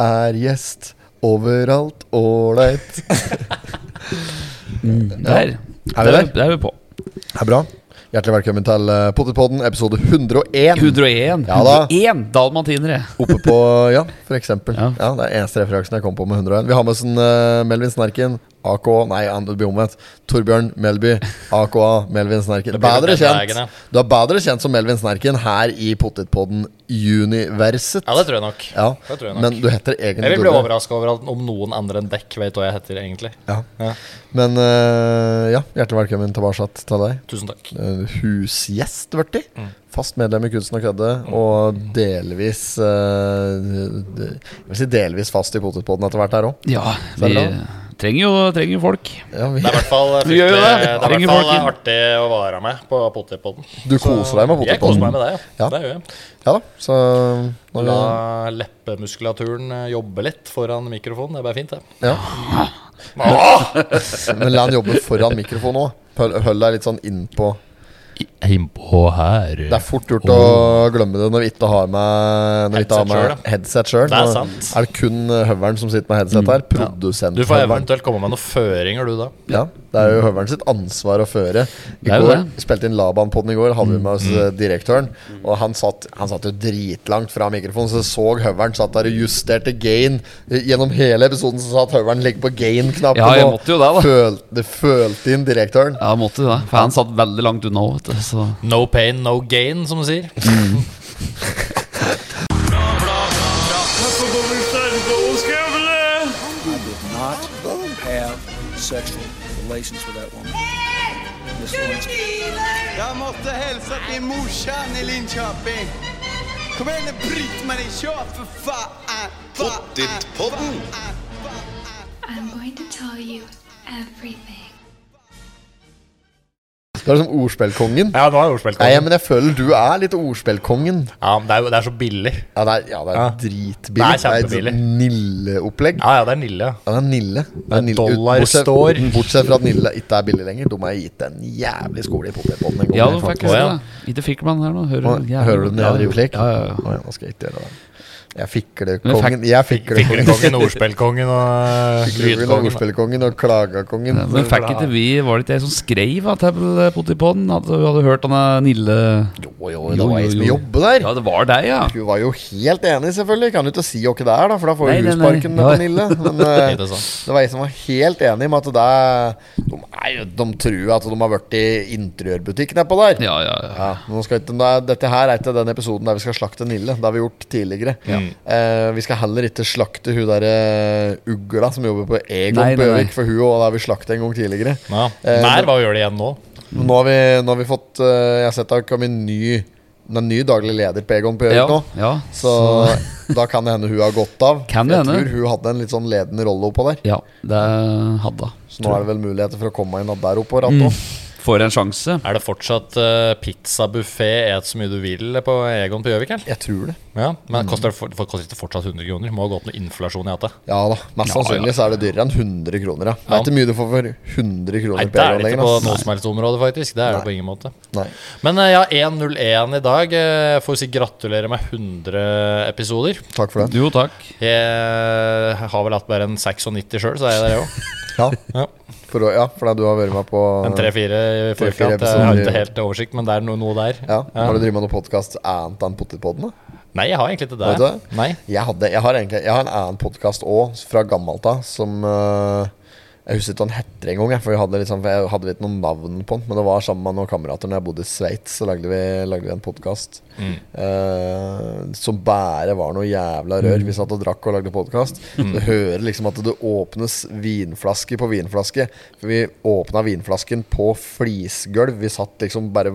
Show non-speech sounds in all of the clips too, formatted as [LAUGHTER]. er gjest overalt ålreit. Der. Er vi der? Der er vi på. Det er bra. Hjertelig velkommen til eh, Pottetpodden, episode 101. 101. Ja da. 101 dalmatinere. Oppe på Ja, for eksempel. Ja, Ja. Det er eneste referansen jeg kom på med 101. Vi har med oss en, eh, Melvin Snerken, AK Nei, han- det blir omvendt. Torbjørn Melby, AKA Melvin Snerken. Det blir Bedre den dagen, kjent. ja. Du er bedre kjent som Melvin Snerken her i Pottetpodden Universet. Ja, det tror jeg nok. Ja, Det tror jeg nok. men du heter Jeg egentlig vil bli Torbjørn. overraska over at om noen andre enn dekk vet hva jeg heter, egentlig. Ja. Ja. Men eh, ja, hjertelig velkommen tilbake til deg. Tusen takk. Eh, husgjest blitt i. Mm. Fast medlem i Kunsten og kødde, og delvis eh, de- Jeg vil si delvis fast i potetpodden etter hvert her òg. Ja, Så er vi det trenger jo, trenger jo folk. Ja, vi- Det er i hvert fall Vi gjør jo det. fryktelig- det er i Ringer hvert fall folk artig å være med på Potipodden. du koser deg med Jeg koser potetpodden? meg med deg, ja. Ja. Det gjør jeg. Ja da, så når La vi, leppemuskulaturen eh, jobbe litt foran mikrofonen. Det er bare fint, det. ja. Men la han jobbe foran mikrofonen òg. Hold deg litt sånn innpå. Innpå her Oh. Det er fort gjort å glemme det når vi ikke har med, når vi ikke har Headset selv, med headset sjøl. Det er Nå sant. er det kun høveren som sitter med headset Mm. her. Produsent Du får eventuelt komme med noen føringer, du, da. Ja, det er jo høveren sitt ansvar å føre. I Det er jo går, det. Mm. spilte inn Laban på den i går, hadde vi med oss eh, direktøren. Og han satt, han satt jo dritlangt fra mikrofonen, så jeg så høveren satt der og justerte gain. Eh, Gjennom hele episoden så satt høveren legge på gain-knappen Ja, jeg og måtte jo det, da. følte, det følte inn direktøren. Ja, måtte jo det. For han satt veldig langt unna òg, vet du. Så No pain, no gain, som du sier. not have sexual relations with that woman. Miss Lewinsky. Jeg måtte hilse til morsan i Linköping. Kom igjen, Britt-Marie, kjør, for faen! Pottit-podden! I'm going to tell you everything. Du er liksom ordspillkongen. Ja, nå er det ordspill. Nei, Ja, men jeg føler du er litt ordspillkongen. men det er, jo- det er så billig. Ja, det er, ja, det er Ja. dritbillig. Det er kjempebillig. et Nille-opplegg. Ja, ja, det er Nille. ja. Ja, det er Nille. Det er Nille. dollar bortsett, står. bortsett fra at Nille ikke er billig lenger. De har gitt en jævlig skole i potetbollen en gang. ja, jeg du fant fikk ut. det. ja. Ikke fikk man her nå. Hører, Nå, Hører du den jeg driver slik? Ja, ja, ja. Å ja, nå skal jeg ikke gjøre det. Jeg Men fikk- fiklekongen. Jeg fiklekongen. Fiklekongen, ordspillkongen og Fiklekongen eh, og lydkongen. ordspillkongen og klagakongen. Ja, Men fikk ikke vi Var det ikke jeg som skrev at jeg ble potipodden? At du hadde hørt han der Nille Jo, jo, Jo, det var jo, jeg som jo. jobbet der. Ja, det var deg, ja. Du var jo helt enig, selvfølgelig. Kan du ikke si åkke der, da, for da får Nei, du nei, nei. husparken Ja. på Nille. [LAUGHS] Men eh, Ikke sant. det var jeg som var helt enig med at det er- de, er, jo- de tror at de har vært i interiørbutikken nedpå der. Ja, ja, ja. Ja, nå skal ikke, da, dette her er ikke den episoden der vi skal slakte Nille. Det har vi gjort tidligere. Eh, vi skal heller ikke slakte hun derre ugla som jobber på Egon Nei, på nei, nei. Gjøvik, for hun òg har vi slakta en gang tidligere. Ja. Eh, Der men- var vi gjør det igjen nå. Nå har vi, nå har vi fått eh, Jeg har sett det har kommet en ny, det er en ny daglig leder på Egon på Gjøvik Ja, nå. ja. Så da kan det hende hun har gått av. Kan det jeg hende. tror hun hadde en litt sånn ledende rolle oppå der. ja det hadde Så nå er det vel muligheter for å komme inn der oppå Mm. rattet òg. Får en sjanse. Er det fortsatt uh, pizzabuffé, et så mye du vil på Egon på Gjøvik? eller? Jeg tror det. Ja, Mm. men koster det for, for, koster ikke fortsatt 100 kroner? Må ha gått noe inflasjon i dette. Ja da, Mest Ja, sannsynlig ja. så er det dyrere enn 100 kroner. Ja. Det Ja. er ikke mye du får for 100 Nei, kroner det er det lenger, ikke på ass. noe som helst område, faktisk. Det er det på ingen måte. Nei. Men eh, ja, 1.01 i dag. eh, får si gratulerer med 100 episoder. Takk for det. Jo, takk. Jeg har vel hatt bare en 96 sjøl, så er jeg der òg. Ja, Ja. for, å- ja, for det du har vært med på En tre-fire i Tre-fire forkant. eh, Jeg har episoder. ikke helt oversikt, men det er no, noe der. ja. Har du drevet med noen podkast annet enn Potetpodden? da? Nei, jeg har egentlig ikke det. Har du det? Nei. Jeg, hadde, jeg, har egentlig, jeg har en annen podkast òg, fra gammelt av, som eh, Jeg husker ikke hva den heter engang, jeg, for jeg hadde liksom, for jeg hadde ikke noe navn på den. Men det var sammen med noen kamerater Når jeg bodde i Sveits, så lagde vi, lagde vi en podkast som bare var noe jævla rør. Vi satt og drakk og lagde podkast. Du hører liksom at det åpnes vinflaske på vinflaske. For vi åpna vinflasken på flisgulv. Vi satt liksom bare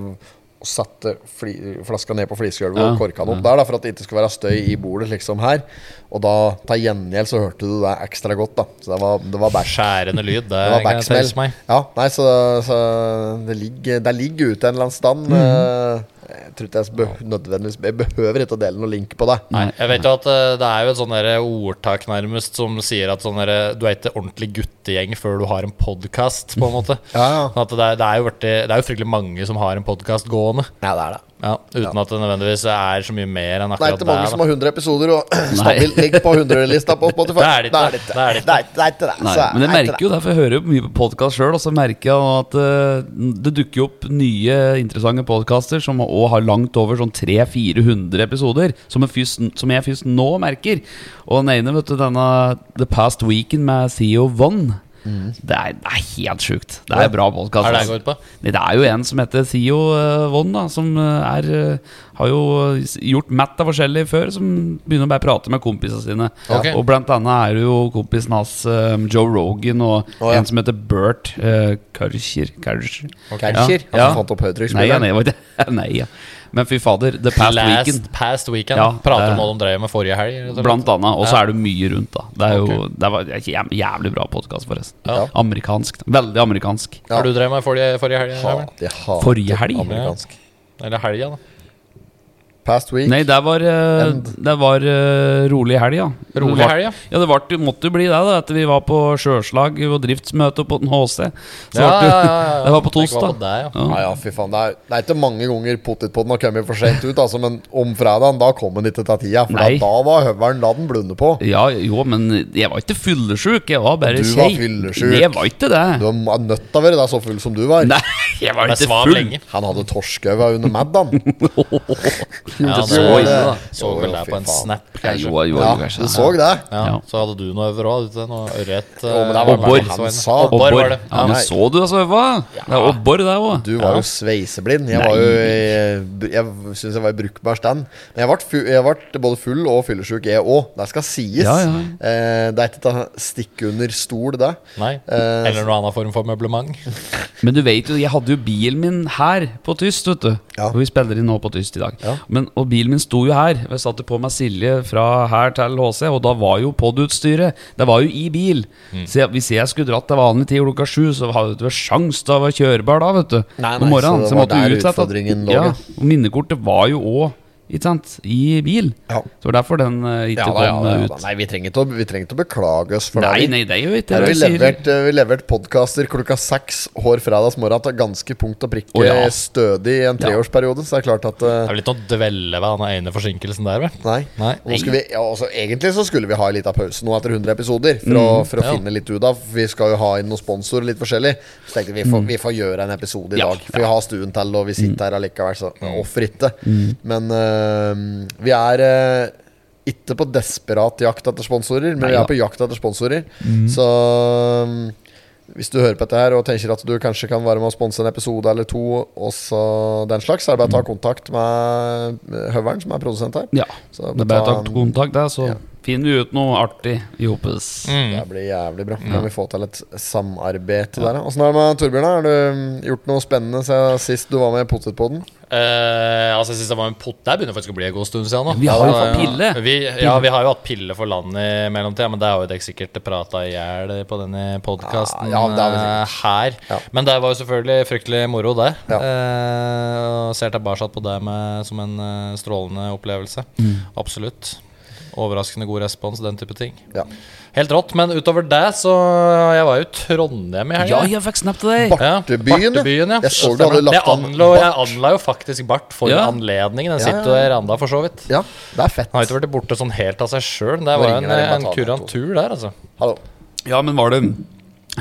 og satte fli, flaska ned på flisgulvet og Ja. korka den opp der, da, for at det ikke skulle være støy i bordet, liksom her. Og da, til gjengjeld, så hørte du det ekstra godt, da. Så det var, det var bæsj. Skjærende lyd. Det Det, var kan jeg backsmell. telles meg. Ja, nei, så, så det, ligger, det ligger ute en eller annen stand. Mhm. eh, Jeg tror ikke jeg beh nødvendigvis Jeg behøver ikke å dele noen link på det. Nei, jeg vet jo at eh, det er jo et sånn derre ordtak nærmest som sier at sånn derre Du er ikke ordentlig guttegjeng før du har en podkast, på en måte. Ja, ja. Sånn at det, er, det, er jo vært, det er jo fryktelig mange som har en podkast gående. Nei, det er det. Ja, uten at det nødvendigvis er så mye mer enn Nei, akkurat ikke mange det. som har 100 episoder og [LAUGHS] stabilt ligger på 100-lista på Spotify. Det er det ikke. Det er det Nei, ikke. det er ikke det. Nei, Så er men jeg det ikke merker jo det, for jeg hører jo mye på podkast sjøl, og så merker jeg at eh, det dukker jo opp nye interessante podkaster som òg har langt over sånn 300-400 episoder, som, en fyrst, som jeg først nå merker. Og den ene, vet du, denne The Past Weekend med Theo Von. Mm. Det, er, det er helt sjukt. Det er bra podkast. Er det jeg går ut på? Nei, det er jo en som heter Theo eh, Von, da, som eh, er, eh, har jo s- gjort matt av forskjellig før, som begynner å bare prate med kompisene sine. Ok. Og blant annet er det jo kompisen hans eh, Joe Rogan og Å, ja. en som heter Bert uh, Karcher. Karcher. Karcher? Han som Ja. fant opp Nei, ja, høytrykksspilleren? nei, jeg var ikke- [LAUGHS] nei, ja. Men fy fader, The Past Last Weekend. past weekend. Ja, Prater det- om hva de drev med forrige helg. rett og slett. Blant annet. Og så Ja. er det mye rundt, da. Det er jo Ok. det var et jæv- jævlig bra podkast, forresten. Ja. Amerikansk. Veldig amerikansk. Ja. Har du drevet med forrige, forrige helg? Ha, Emil? de hater Forrige helg? Amerikansk. Eller helga, da. Past week. Nei, det var, eh, End. det var eh, rolig helg, ja. Rolig Det var- helg, ja. Ja, det var, måtte jo bli det, da, etter vi var på sjøslag og driftsmøte på den HC. Så Ja, ble det jo- ja, ja, ja. [LAUGHS] Det var på Tenk hva torsdag. på deg, ja. Ja, ja, fy faen. Det er, det er ikke mange ganger potetpodden har kommet for sent ut, altså, men om fredagen, da kom den ikke til tida. For da, Nei. da var høvelen la den blunde på. Ja, jo, men jeg var ikke fyllesyk. Jeg var bare Du skeiv. var fyllesyk. Jeg var ikke Du det. var nødt til å være der så full som du var. [LAUGHS] Nei, jeg var Ble ikke svav full. lenge. Han hadde torskøva under [LAUGHS] Maddan. Ja, det det så var- ille, da. Så Jo, vel jo, deg fy på en faen. snap, Ja, kanskje. jo, jo, jo, Ja, kanskje. du så det? Ja, Ja. Så hadde du noe over òg? Noe ørret? Jo, men det eh, var bare Obbor. han sa. Obbor. Obbor var det. Ja, Ja. men så du altså, hva? Det er obbor, det òg. Du var jo sveiseblind. Jeg var jo i- Jeg syns jeg var i brukbar stand. Men jeg ble, fu jeg ble både full og fyllesyk, jeg òg. Det skal sies. Ja, ja. Eh, det er ikke til å stikke under stol, det. Nei. Eh, Eller noen annen form for møblement. Men du vet jo, jeg hadde jo bilen min her på tyst, vet du. Ja. Og vi spiller inn nå på tyst i dag. Ja. Men, og bilen min sto jo her. Jeg satte på meg Silje fra her til HC, og da var jo podutstyret Det var jo i bil. Så jeg, hvis jeg skulle dratt til vanlig tid klokka sju, så hadde det ikke vært sjans til å være kjørbar da, vet du. Nei, Om nei, morgenen. så det Så, jeg var måtte der jo utsette at- utfordringen lå, ja. Ja, og minnekortet var jo òg, ikke sant, i bil. Ja. Så det var derfor den eh, ikke Ja, da, kom ja, da, ja, eh, da. ut. Nei, vi trenger ikke å, vi trenger ikke å beklage oss for Nei, det. nei, det er jo ikke Her har det. vi jeg sier. levert, eh, vi levert podkaster klokka seks hver fredagsmorgen til ganske punkt og prikke Å, ja. stødig i en treårsperiode, så det er klart at eh, Det er vel ikke noe å dvele ved den ene forsinkelsen der, vel? Nei. Nei. Nå skulle vi, ja, altså, egentlig så skulle vi ha en liten pause nå etter 100 episoder. For å, Mm. for å Ja. finne litt ut av Vi skal jo ha inn noen sponsorer litt forskjellig. Så tenkte vi vi får, vi får gjøre en episode i Mm. Ja, Mm. dag. For vi har stuen til, og vi sitter her allikevel, så hvorfor ikke? Men øh, vi er øh, ikke på desperat jakt etter sponsorer, men Nei vi da. Mm. er på jakt etter sponsorer. Så øh, hvis du hører på dette her og tenker at du kanskje kan være med å sponse en episode eller to, og så den slags, så er det bare å ta kontakt med øh, Høveren, som er produsent her. Ja. Så Det er bare å ta ta en- kontakt, der, så Ja. finner vi ut noe artig i hopes. Mm. Det blir jævlig bra. Kan vi få til et samarbeid til der, da? Åssen er det med Torbjørn? da? Har du mm, gjort noe spennende siden sist du var med i Potetpodden? Eh, altså, jeg synes det var en pot Der begynner faktisk å bli en god stund siden nå. Vi har jo Ja, fått ja. pille. Vi, ja, vi har jo hatt pille for land i mellomtida, men det har jo dere sikkert prata i hjel på denne podkasten Ja, ja, det har vi sikkert. her. Ja. Men det var jo selvfølgelig fryktelig moro, det. Ja. Eh, og ser tilbake på det med, som en eh, strålende opplevelse. Mm. Absolutt. Overraskende god respons, den type ting. Ja. Helt rått. Men utover det, så Jeg var jo i Trondheim i helga. Ja, jeg fikk snap til deg! Ja, Bartebyen, ja. ja. Jeg så du hadde lagt jeg an anla, jeg bart. anla jo faktisk bart for Ja. anledningen. Den Ja, ja, sitter jo ja. der ennå, for så vidt. Ja, det er fett. Han har ikke vært borte sånn helt av seg sjøl. Det Må var jo ringe en, her, jeg må en ta den kurantur der, altså. Hallo. Ja, men var det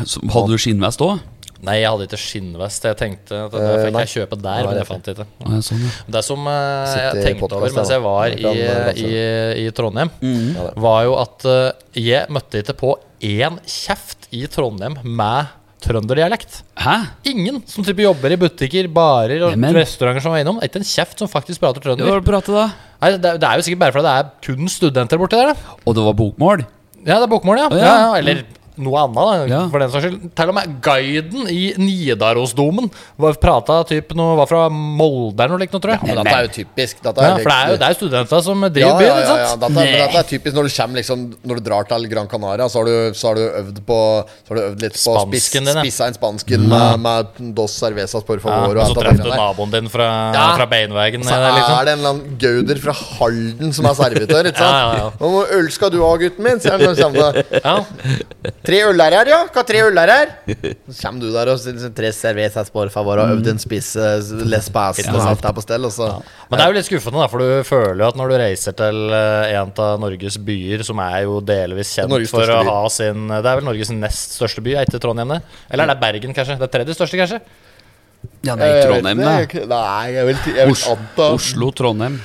så Hadde du skinnvest òg? Nei, jeg hadde ikke skinnvest. Jeg tenkte at det Eh, fikk nei. jeg kjøpe der, Nei, men det jeg fant det ikke. Sånn, ja. Det som eh, jeg Sitter i tenkte podcast over mens da. jeg var Vi i, kan, eh, Mm. i, i Trondheim, Ja, det. var jo at eh, jeg møtte ikke på én kjeft i Trondheim med trønderdialekt. Hæ? Ingen som type jobber i butikker, barer og Neimen. restauranter som var innom. Ikke en kjeft som faktisk prater Ja, Hva trønder. var det du pratet da? Nei, det, er- det er jo sikkert bare fordi det er kun studenter borti der. Da. Og det var bokmål? Ja, det er bokmål, ja. Å, ja. ja, ja eller noe annet, da, Ja. for den saks skyld. Til og med guiden i Nidarosdomen var, prata typ noe Var fra Molde eller noe likt, noe, tror jeg. Men Ja, dette er jo typisk. Dette er for det er jo det er jo studenter som driver ja, ja, byen, ja, ikke ja. sant? Dette, men dette er typisk når du kommer liksom Når du drar til Gran Canaria, så har du, så har du øvd på Så har du øvd litt på spiss, Spansken din, ja. spissa inn spansken med, med dos cervezas por Ja, favor. og alt så det traff du der. naboen din fra, Ja. fra beinvegen. Så eller liksom. er det en eller annen gauder fra [LAUGHS] Halden som er servitør, ikke sant? Ja, ja, ja. Hvor mye øl skal du ha, gutten min? sier han når han kommer til deg. Ja. Tre øl her, ja? Hva tre øl her? Så kommer du der og sier tre cervezas por favor og øv den spisse eh, les pasen og alt er på stell, og så Men det er jo litt skuffende, da, for du føler jo at når du reiser til eh, en av Norges byer, som er jo delvis kjent Norges for å største by. ha sin Det er vel Norges nest største by, er ikke Trondheim det? Eller er det Bergen, kanskje? Det er tredje største, kanskje? Ja, det er Trondheim, Jeg vet det. ikke, Eh, Nei, jeg vil, jeg vil Os- anta Oslo-Trondheim.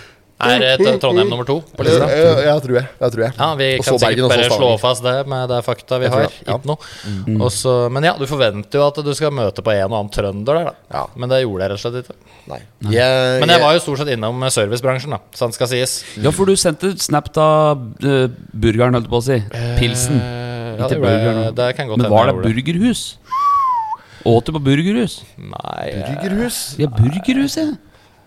Er eh, Trondheim nummer to på Ja, lista? ja, ja, tror jeg. Ja, tror jeg. Ja, vi Eh, Og kan så Bergen, sikkert og så bare slå Stavanger. fast det med det fakta vi Jeg tror har. det, ja. Mm. Ikke noe. Og så- men ja, du forventer jo at du skal møte på en og annen trønder der, da. Ja. Men det gjorde jeg rett og slett ikke. Nei. Jeg, Men jeg var jo stort sett innom servicebransjen, da, sant skal sies. Ja, for du sendte snap av eh, burgeren, holdt jeg på å si. Pilsen. Eh, ja, Ikke det, gjorde burgeren. jeg, det kan godt Men hende var jeg det gjorde det. burgerhus? Åt du på burgerhus? Nei, jeg- Burgerhus. Ja, burgerhus, ja.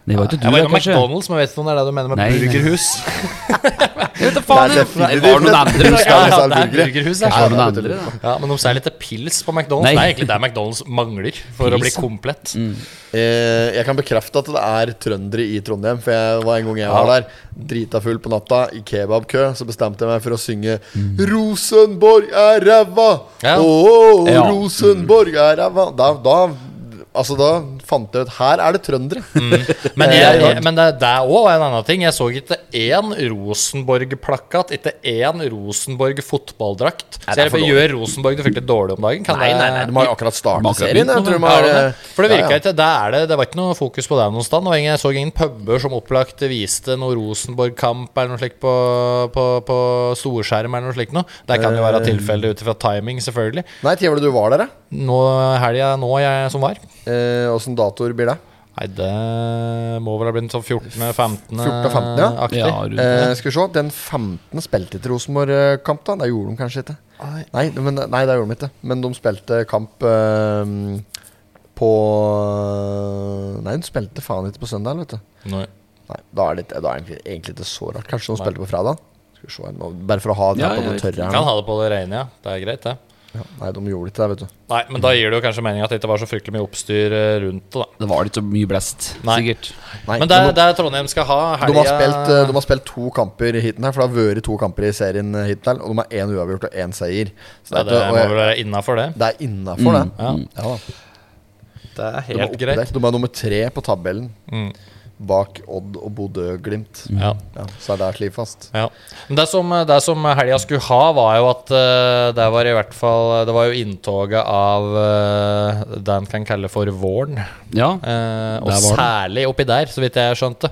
Det var ikke du, jeg var da, innom kanskje? McDonald's, men jeg vet ikke om det er det du mener med Nei, nei. [LAUGHS] burgerhus. Jeg vet da faen, Det er jeg. definitivt Nei, var det noen et andre hus? burgerhus. da? Ja, det er det er burgere. burgerhus, Ja, ja. Var det noen det er andre, da? Ja, men om det er litt pils på McDonald's Nei. Det er egentlig det McDonald's mangler for å bli Pils, ja. Mm. komplett. Eh, jeg kan bekrefte at det er trøndere i Trondheim, for jeg var en gang jeg var der. Drita full på natta, i kebabkø, så bestemte jeg meg for å synge 'Rosenborg er ræva'! Mm. Ja. Åh, åh, Ja. Rosenborg er ræva! Da, da Altså, da fant jeg ut Her er det trøndere! Mm. Men, Det er jeg, rart. men det, det er òg en annen ting. Jeg så ikke én Rosenborg-plakat, ikke én Rosenborg-fotballdrakt. Så det er jeg for bare gjør Rosenborg det fryktelig dårlig om dagen. Kan [LAUGHS] Nei, nei, nei, de har jo akkurat starta akkurat serien. Jeg tror de har, det er det. eh, For det ja, virka ja. ikke det, er det, det var ikke noe fokus på det noe sted. Og jeg så ingen puber som opplagt viste noe Rosenborg-kamp eller noe slikt på, på, på storskjerm eller noe slikt noe. Det kan jo være Eh. tilfeldig ut ifra timing, selvfølgelig. Nei, når var det du var der, da? Nå helga nå jeg som var. Eh, Åssen datoer blir det? Nei, det må vel ha blitt sånn 14.-15. 14.-15, ja. aktig. Ja, rundt Eh, skal vi se. Den 15. spilte til Rosenborg-kamp, da. Det gjorde de kanskje ikke. Nei. Nei, men, nei, det gjorde de ikke. Men de spilte kamp eh, på eh, Nei, de spilte faen ikke på søndag, vet du. Nei. Nei, da er det, ikke- da er det egentlig- egentlig ikke så rart. Kanskje de spilte på fredag? Skal vi se, her nå, bare for å ha det Ja, her på ja, det riktig. tørre. Du Her, Kan nå. ha det på det rene, ja. Det er greit, det. ja, nei, de gjorde ikke det, vet du. Nei, men da gir det jo kanskje mening at det ikke var så fryktelig mye oppstyr eh, rundt det, da. Det var litt så mye blest, Nei. sikkert. Nei, Men det de, er det Trondheim skal ha de, helga har spilt, eh, de har spilt to kamper hittil, her, for det har vært to kamper i serien eh, hittil. Og de har én uavgjort og én seier. Så det ja, er, Det ikke- må Mm. og jeg, vel være innafor, det. det er innafor, det. Ja, Ja da. det er De er, helt oppe greit. der. de er nummer tre på tabellen. Bak Odd og Bodø-Glimt. Ja. Ja, så er det slik fast. Ja. Men det som, det som helga skulle ha, var jo at eh, det var i hvert fall Det var jo inntoget av eh, det en kan kalle for våren. Ja. Eh, og Der var den. særlig oppi der, så vidt jeg skjønte.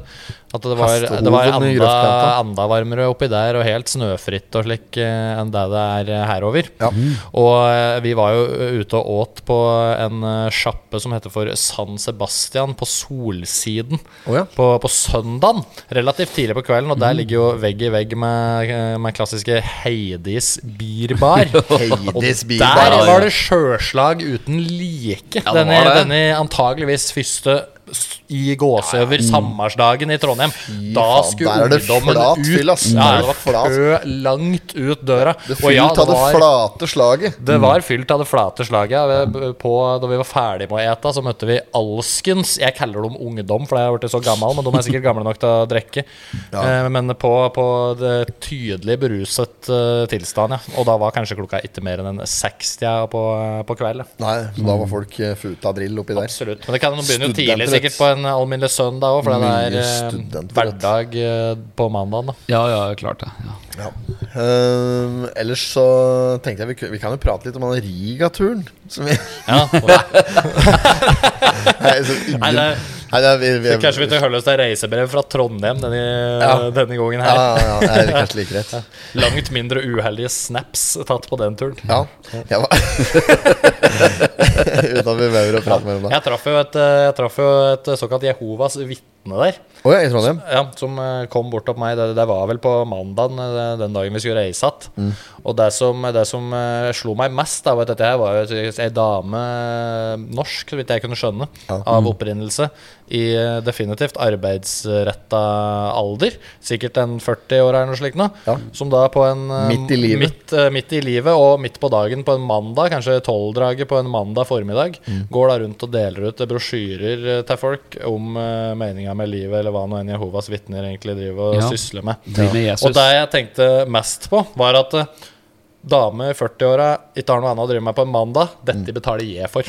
At det var, det var Hestehoven i enda, grøftkanta. anda varmere oppi der, og helt snøfritt og slik eh, enn det det er eh, herover. Ja. Og eh, vi var jo eh, ute og åt på en eh, sjappe som heter for San Sebastian på Solsiden. Å ja. Mm. På, på søndagen, relativt tidlig på kvelden, og der ligger jo vegg i vegg med, eh, med klassiske Heidis [LAUGHS] bierbar. Og Heidis [LAUGHS] der Bieber. var det sjøslag uten like. Ja, det denne, var det. denne antageligvis første s- i gåseøver sammarsdagen i Trondheim. da faen, skulle der er det ungdommen flat ut. fyll, ass. Ja, Der er det det var flat. kø langt ut døra. Det Og ja, fylt av det flate slaget. det var fylt av det flate slaget. Vi- På, da vi var ferdig med å ete, så møtte vi alskens Jeg kaller dem ungdom, for jeg har blitt så gammel, men de er sikkert gamle nok til å drikke. Eh, Men på, på det tydelig beruset eh, tilstand, ja. Og da var kanskje klokka ikke mer enn en 60 ja, på, på kvelden. Nei, så da var folk eh, futa av drill oppi der. Mm. Absolutt. Men det kan jo begynne jo tidlig, Studenter, vet du. sikkert på en alminnelig søndag òg, for det Mye er eh, studenter, vet du. hverdag eh, på mandagen. da. ja, ja, klart det. Ja. Ja. Ehm, ellers så tenkte jeg vi, ku- vi kan jo prate litt om den Riga-turen. Som vi Ja. [LAUGHS] Nei, så ingen, Nei, det- Nei, det er- vi, vi, Så kanskje vi skal holde oss til reisebrev fra Trondheim denne, Ja. denne gangen ja, her. ja, ja, det er kanskje like greit. Langt mindre uheldige snaps tatt på den turen. Ja. Jeg [LAUGHS] var Uten at vi behøver å prate mer om det. Jeg traff jo et, eh, jeg traff jo et såkalt Jehovas vitne der, Å ja, i Trondheim? ja, som eh, kom bort til meg. Det, det var vel på mandagen, eh, den dagen vi skulle reise att. Mm. Og det som, det som eh, slo meg mest, da, var at dette her var jo et- ei dame, eh, norsk, så vidt jeg kunne skjønne, av opprinnelse, i eh, definitivt arbeidsretta alder. Sikkert en 40 år eller noe slikt nå. Ja. Som da på en eh, Midt i livet. Midt, eh, midt i livet og midt på dagen på en mandag, kanskje tolvdraget på en mandag formiddag, Mm. går da rundt og deler ut eh, brosjyrer eh, til folk om uh, meninga med livet, eller hva nå enn Jehovas vitner egentlig driver og Ja. sysler med. Driv med Jesus. Og det jeg tenkte mest på, var at eh, dame i 40-åra ikke har noe annet å drive med på en mandag, Mm. dette betaler jeg for.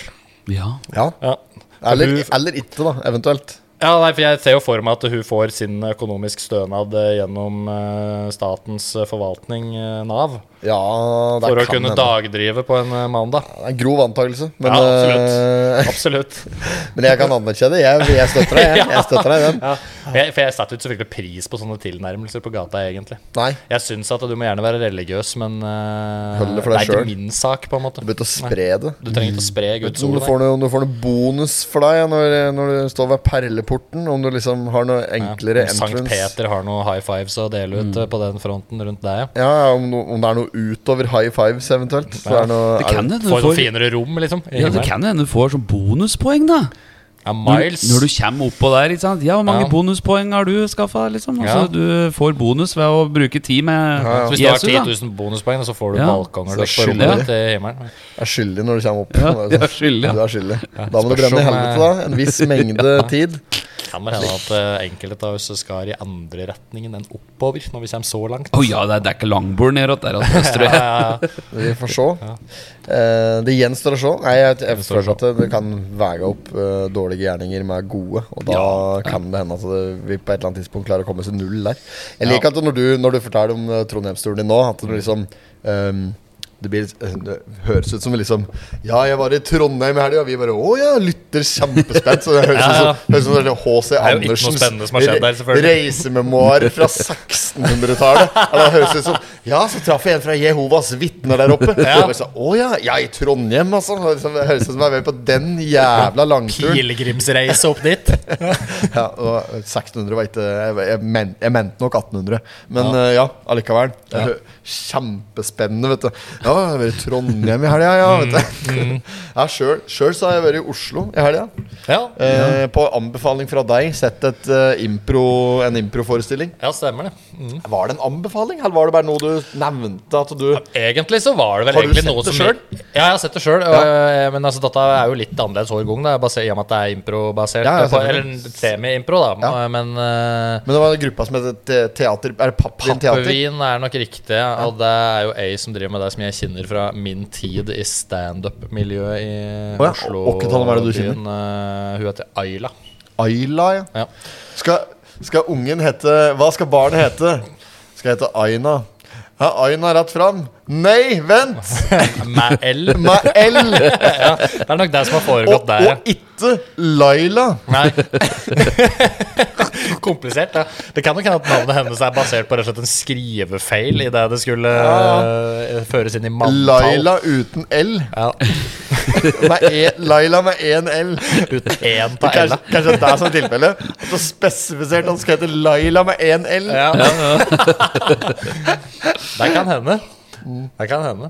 Ja. Ja. Ja. Eller, Hun- eller ikke, da, eventuelt. Ja, nei, for Jeg ser jo for meg at hun får sin økonomisk stønad eh, gjennom eh, statens eh, forvaltning, eh, Nav, Ja, det for å kan kunne hende. dagdrive på en eh, mandag. Det er en grov antakelse, men, Ja, absolutt. eh, Absolutt. [LAUGHS] men jeg kan anerkjenne det. Jeg, jeg støtter deg jeg. jeg støtter deg i den. [LAUGHS] Ja. For jeg, for jeg setter jo ikke så fryktelig pris på sånne tilnærmelser på gata, egentlig. Nei. Jeg syns at du må gjerne være religiøs, men eh, Hold det for deg er selv. ikke min sak, på en måte. Du begynte å spre det. Du trenger ikke å spre Vet Guds ikke om ord. du får noe, om du får noe bonus for deg når, når du står ved perleporten. Om du liksom har noe enklere Sankt entrance. Mm. Peter har noen high fives å dele ut eh, på den fronten rundt deg. Ja, ja, om, no, om det er noe utover high fives eventuelt. Så er det noe, Det er kan hende du Får noen får finere rom, liksom. i ja, det himmelen. kan hende du får sånn bonuspoeng, da. Ja, Når, Miles. når du kommer oppå der. Ikke sant? Ja, hvor mange Ja. bonuspoeng har du skaffa? Liksom? Ja. Altså, Du får bonus ved å bruke tid med Ja, ja. Så hvis du har Jesus. da. 10 000 bonuspoeng, så får du Ja. balkonger Så til skylder du. rommet ditt i himmelen. du er skyldig når du kommer opp. Ja, Altså, jeg er skyldig, ja. Du er skyldig. Da må du Spørs brenne i om, eh, helvete, da. En viss [LAUGHS] mengde tid. Kan vel hende at eh, enkelte av oss skal i andre retningen enn oppover når vi kommer så langt. Å ja, det er, det er ikke langbord nedåt der. Altså, [LAUGHS] Østre. Ja, ja, ja. Vi får se. Eh, det gjenstår å se. Nei, jeg, jeg Gjenstår å føler at det, det kan veie opp eh, dårlige gjerninger med gode, og da kan det hende at det, vi på et eller annet tidspunkt klarer å komme til null der. Jeg liker at når du, når du forteller om eh, Trondheimsturen din nå, at du liksom ehm, det, blir, eh, det høres ut som vi liksom Ja, jeg var i Trondheim i helga, og vi bare Å ja, lytter kjempespent. Så det høres ut Ja, ja. som- høres ut som sånn H.C. er jo ikke noe spennende som har skjedd der, Andersens selvfølgelig. reisememoarer fra 1600-tallet. Ja, Det høres ut som Ja, så traff jeg en fra Jehovas vitner der oppe. Ja. Og jeg sa, Å ja, ja, i Trondheim, altså. Det høres ut som jeg var med på den jævla langturen. Pilegrimsreise opp dit. Ja, og 1600 var ikke Jeg, jeg, men, jeg mente nok 1800. Men eh, ja, allikevel. Det hø- Kjempespennende, vet du. Ja, jeg har vært i Trondheim i helga, ja. Vet du. [LAUGHS] Ja, sjøl- Sjøl så har jeg vært i Oslo i helga. Ja, Eh, på anbefaling fra deg sett et, eh, impro, en improforestilling. ja stemmer det. Mm. Var det en anbefaling, eller var det bare noe du nevnte at du Egentlig så var det vel Har du egentlig sett noe det som selv? Ja, jeg har sett det sjøl. Men altså, dette er jo litt annerledes hver gang, da, base- i og med at det er improbasert. eh, Ja, ja, på- selvfølgelig. eller semi-impro, da. Men eh, Men det var en gruppa som het te- Teater Er det Pappvin Teater? Pappevin er nok riktig, og det er jo ei som driver med det som jeg kjenner fra min tid i standup-miljøet i Å ja, Oslo. og- og hva er det du kjenner? byen. Eh, hun heter Ayla. Ayla, ja. Ja. Skal, skal ungen hete Hva skal barnet hete? Skal hete Aina. Ja, Aina rett fram. Nei, vent! Med L. Med L ja, [LAUGHS] det er nok det som har og, foregått der. ja. og ikke Laila. Nei. [LAUGHS] Komplisert, ja. Det kan nok hende at navnet hennes er basert på rett og slett en skrivefeil i det det skulle eh, føres inn i manntall. Laila uten L. Ja, Med e, Laila med én L. uten én på Kanskje, L-a. kanskje det er som tilfelle At det er spesifisert at det skal hete Laila med én L. Ja. [LAUGHS] det kan hende. Det kan hende.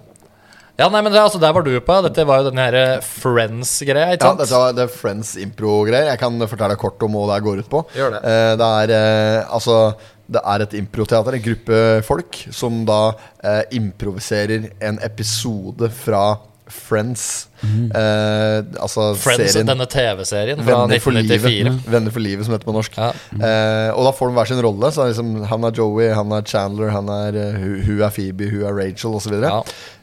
Ja, nei, men det, altså, Der var du på. Dette var jo den her Friends-greia. ikke Ja, sant? dette var, det er Friends impro-greier. Jeg kan fortelle kort om hva det her går ut på. Gjør det. Eh, det er eh, altså det er et improteater, en gruppe folk, som da eh, improviserer en episode fra Friends. Eh, altså Friends, serien denne TV-serien fra Venner for livet. 1994. Venner for livet, som heter på norsk. Ja. Eh, og da får de hver sin rolle. Så er det liksom, Han er Joey, han er Chandler, han er, eh, hu- hun er Phoebe, hun er Rachel osv. Ja.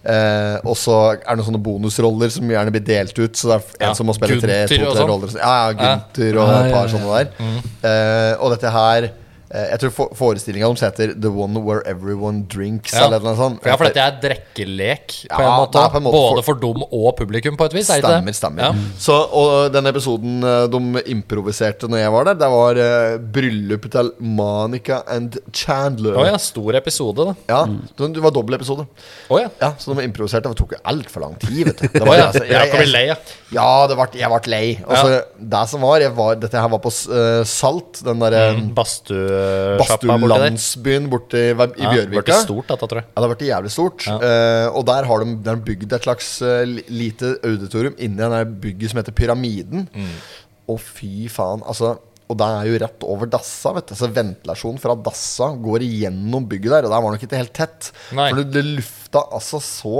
Eh, og så er det noen sånne bonusroller som gjerne blir delt ut. Så det er f- en Ja, som må spille tre, Gunther to, og tre sånn. Mm. roller. så- Ja, ja, Gunther og Ja, et par ja, ja. sånne der. Eh, og dette her eh, Jeg tror forestillinga deres heter The One Where Everyone Drinks. Ja. Eller noe sånt. Ja, for dette er drikkelek, på, en Ja, måte, det er på en måte for- Både for dum og publikum, på et vis. er det ikke Stemmer, det? stemmer. Mm. Ja. Så, og den episoden eh, de improviserte når jeg var der, det var eh, bryllupet til Monica and Chandler. Å ja, stor episode, da. Ja, så Det var dobbel episode. Å ja. Ja, så de improviserte. Det tok jo altfor lang tid, vet du. Det Å ja. altså, Jeg kan bli lei, ja. ja, det vart- jeg ble lei. Og så det som var, jeg var Dette her var på eh, Salt, den derre Mm. Badstuesjappa borti der. Badstulandsbyen borti i Ja, det ble Bjørvika. til stort, dette, tror jeg. Ja, det har vært jævlig stort. Eh, og der har de, de har bygd et slags eh, li- lite auditorium inni det der bygget som heter Pyramiden. Mm. Å, fy faen. Altså og det er jo rett over dassa. vet du Så Ventilasjonen fra dassa går igjennom bygget der. Og der var nok ikke helt tett. Nei. For det, det luft, lukta altså så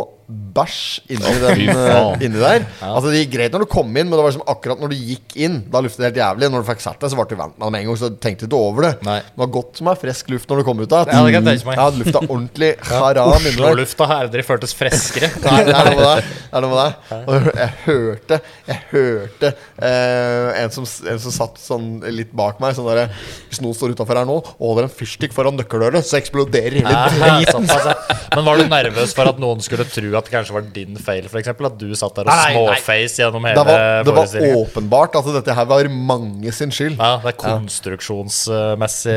bæsj inni, den, fy faen. eh, inni der. Altså Det gikk greit når du kom inn, men det var liksom akkurat når du gikk inn. Da luftet det helt jævlig. Når du fikk satt deg, så ble du vant med det med en gang. Så du tenkte ikke over det. Nei. Det var godt med frisk luft når du kom ut av Ja, det kan jeg tenke meg. Ja, lufta ordentlig haram inni der. Oslo-lufta har aldri føltes freskere. [LAUGHS] Nei, det [LAUGHS] er noe med det. det, er noe med det. Og jeg hørte Jeg hørte eh, en, som, en som satt sånn litt bak meg. Sånn derre Hvis noen står utafor her nå og holder en fyrstikk foran nøkkeløret, så eksploderer hele Ja, såpass, ja. Men var du nervøs for at noen skulle tro at det kanskje var din feil, for eksempel At du satt der og Nei, nei. småface gjennom Det hele var, det var forestillingen? åpenbart at dette her var mange sin skyld. Ja, det er konstruksjonsmessig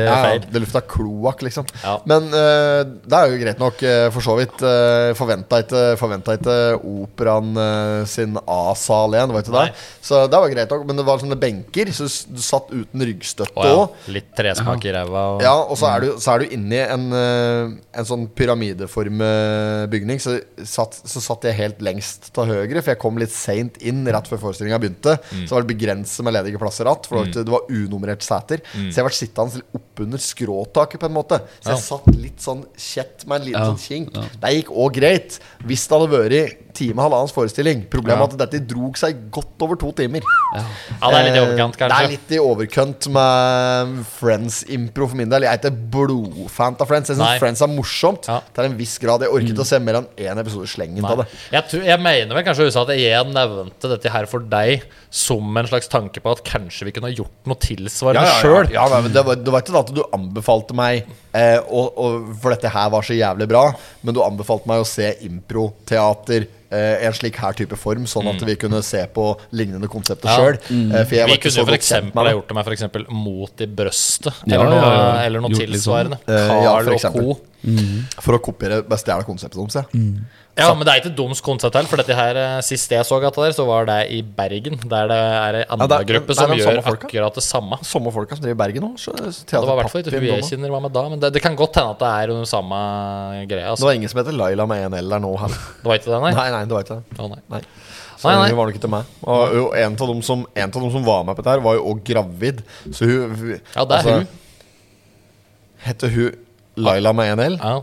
Ja, ja, feil. det lufta kloakk, liksom. Ja. Men eh, det er jo greit nok, eh, for så vidt. Uh, Forventa ikke, forventa ikke operaen eh, sin A-sal igjen, det var ikke Nei. det? Så det var greit nok, men det var sånne benker, så du s- du satt uten ryggstøtte Å ja. òg. Litt tresmak i ræva. og- Ja, og så er du, så er du inni en, eh, en sånn pyramideformbygning. Så satt, så satt jeg helt lengst til høyre, for jeg kom litt seint inn rett før forestillinga begynte. Mm. Så var det begrenset med ledige plasser igjen, for det var ikke- det var unummererte seter. Mm. Så jeg ble sittende litt oppunder skråtaket, på en måte. Så jeg satt litt sånn kjett med en liten Ja, sånn kink. ja. Det gikk òg greit, hvis det hadde vært time og halvannens forestilling. Problemet er at dette drog seg godt over to timer. Ja, det er litt i Eh, overkant, Det er kanskje. litt i overkant med Friends-impro for min del. Jeg er ikke blodfan av Friends. Jeg Nei. syns Friends er morsomt Ja. Mm. til en viss grad. Jeg orket ikke å se mer enn én episode i slengen av det. Nei. Jeg, tror, jeg mener vel kanskje Husa, at jeg nevnte dette her for deg som en slags tanke på at kanskje vi kunne ha gjort noe tilsvarende sjøl. Ja, nei, men det, var, det var ikke det at du anbefalte meg eh, å, å, For dette her var så jævlig bra, men du anbefalte meg å se improteater. Eh, en slik her type form, sånn at vi kunne se på lignende konsepter Mm. Ja. selv sjøl. Eh, for jeg Vi var ikke kunne så jo for godt kjent eksempel ha med det. gjort det med for eksempel mot i brøstet, Ja, eller noe, ja, ja. Eller noe Gjort litt sånn. tilsvarende. Eh, ja, for Carl og eksempel. co. For å kopiere bare stjele konseptet deres. jeg. Ja, men det er ikke et dumt konsept heller, for dette her eh, sist jeg så gata der, så var det i Bergen. Der det er ei det annen er- det er gruppe som de gjør samme folka. akkurat det samme. Samme folka som driver i Bergen òg. Det Det var i hvert fall ikke hun jeg kjenner var med da, men det, det kan godt hende at det er den samme greia. Det Altså. var ingen som heter Laila med en L der nå heller. Det var ikke det, [LAUGHS] nei? Nei, nei, det var ikke det. Å, nei. Nei. Så Nei, nei. hun var nok ikke til meg. Og jo, en av dem som, en av dem som var med på dette, her var jo òg gravid. Så hun, hun Ja, det er hun. Heter hun Laila med en L? Ja.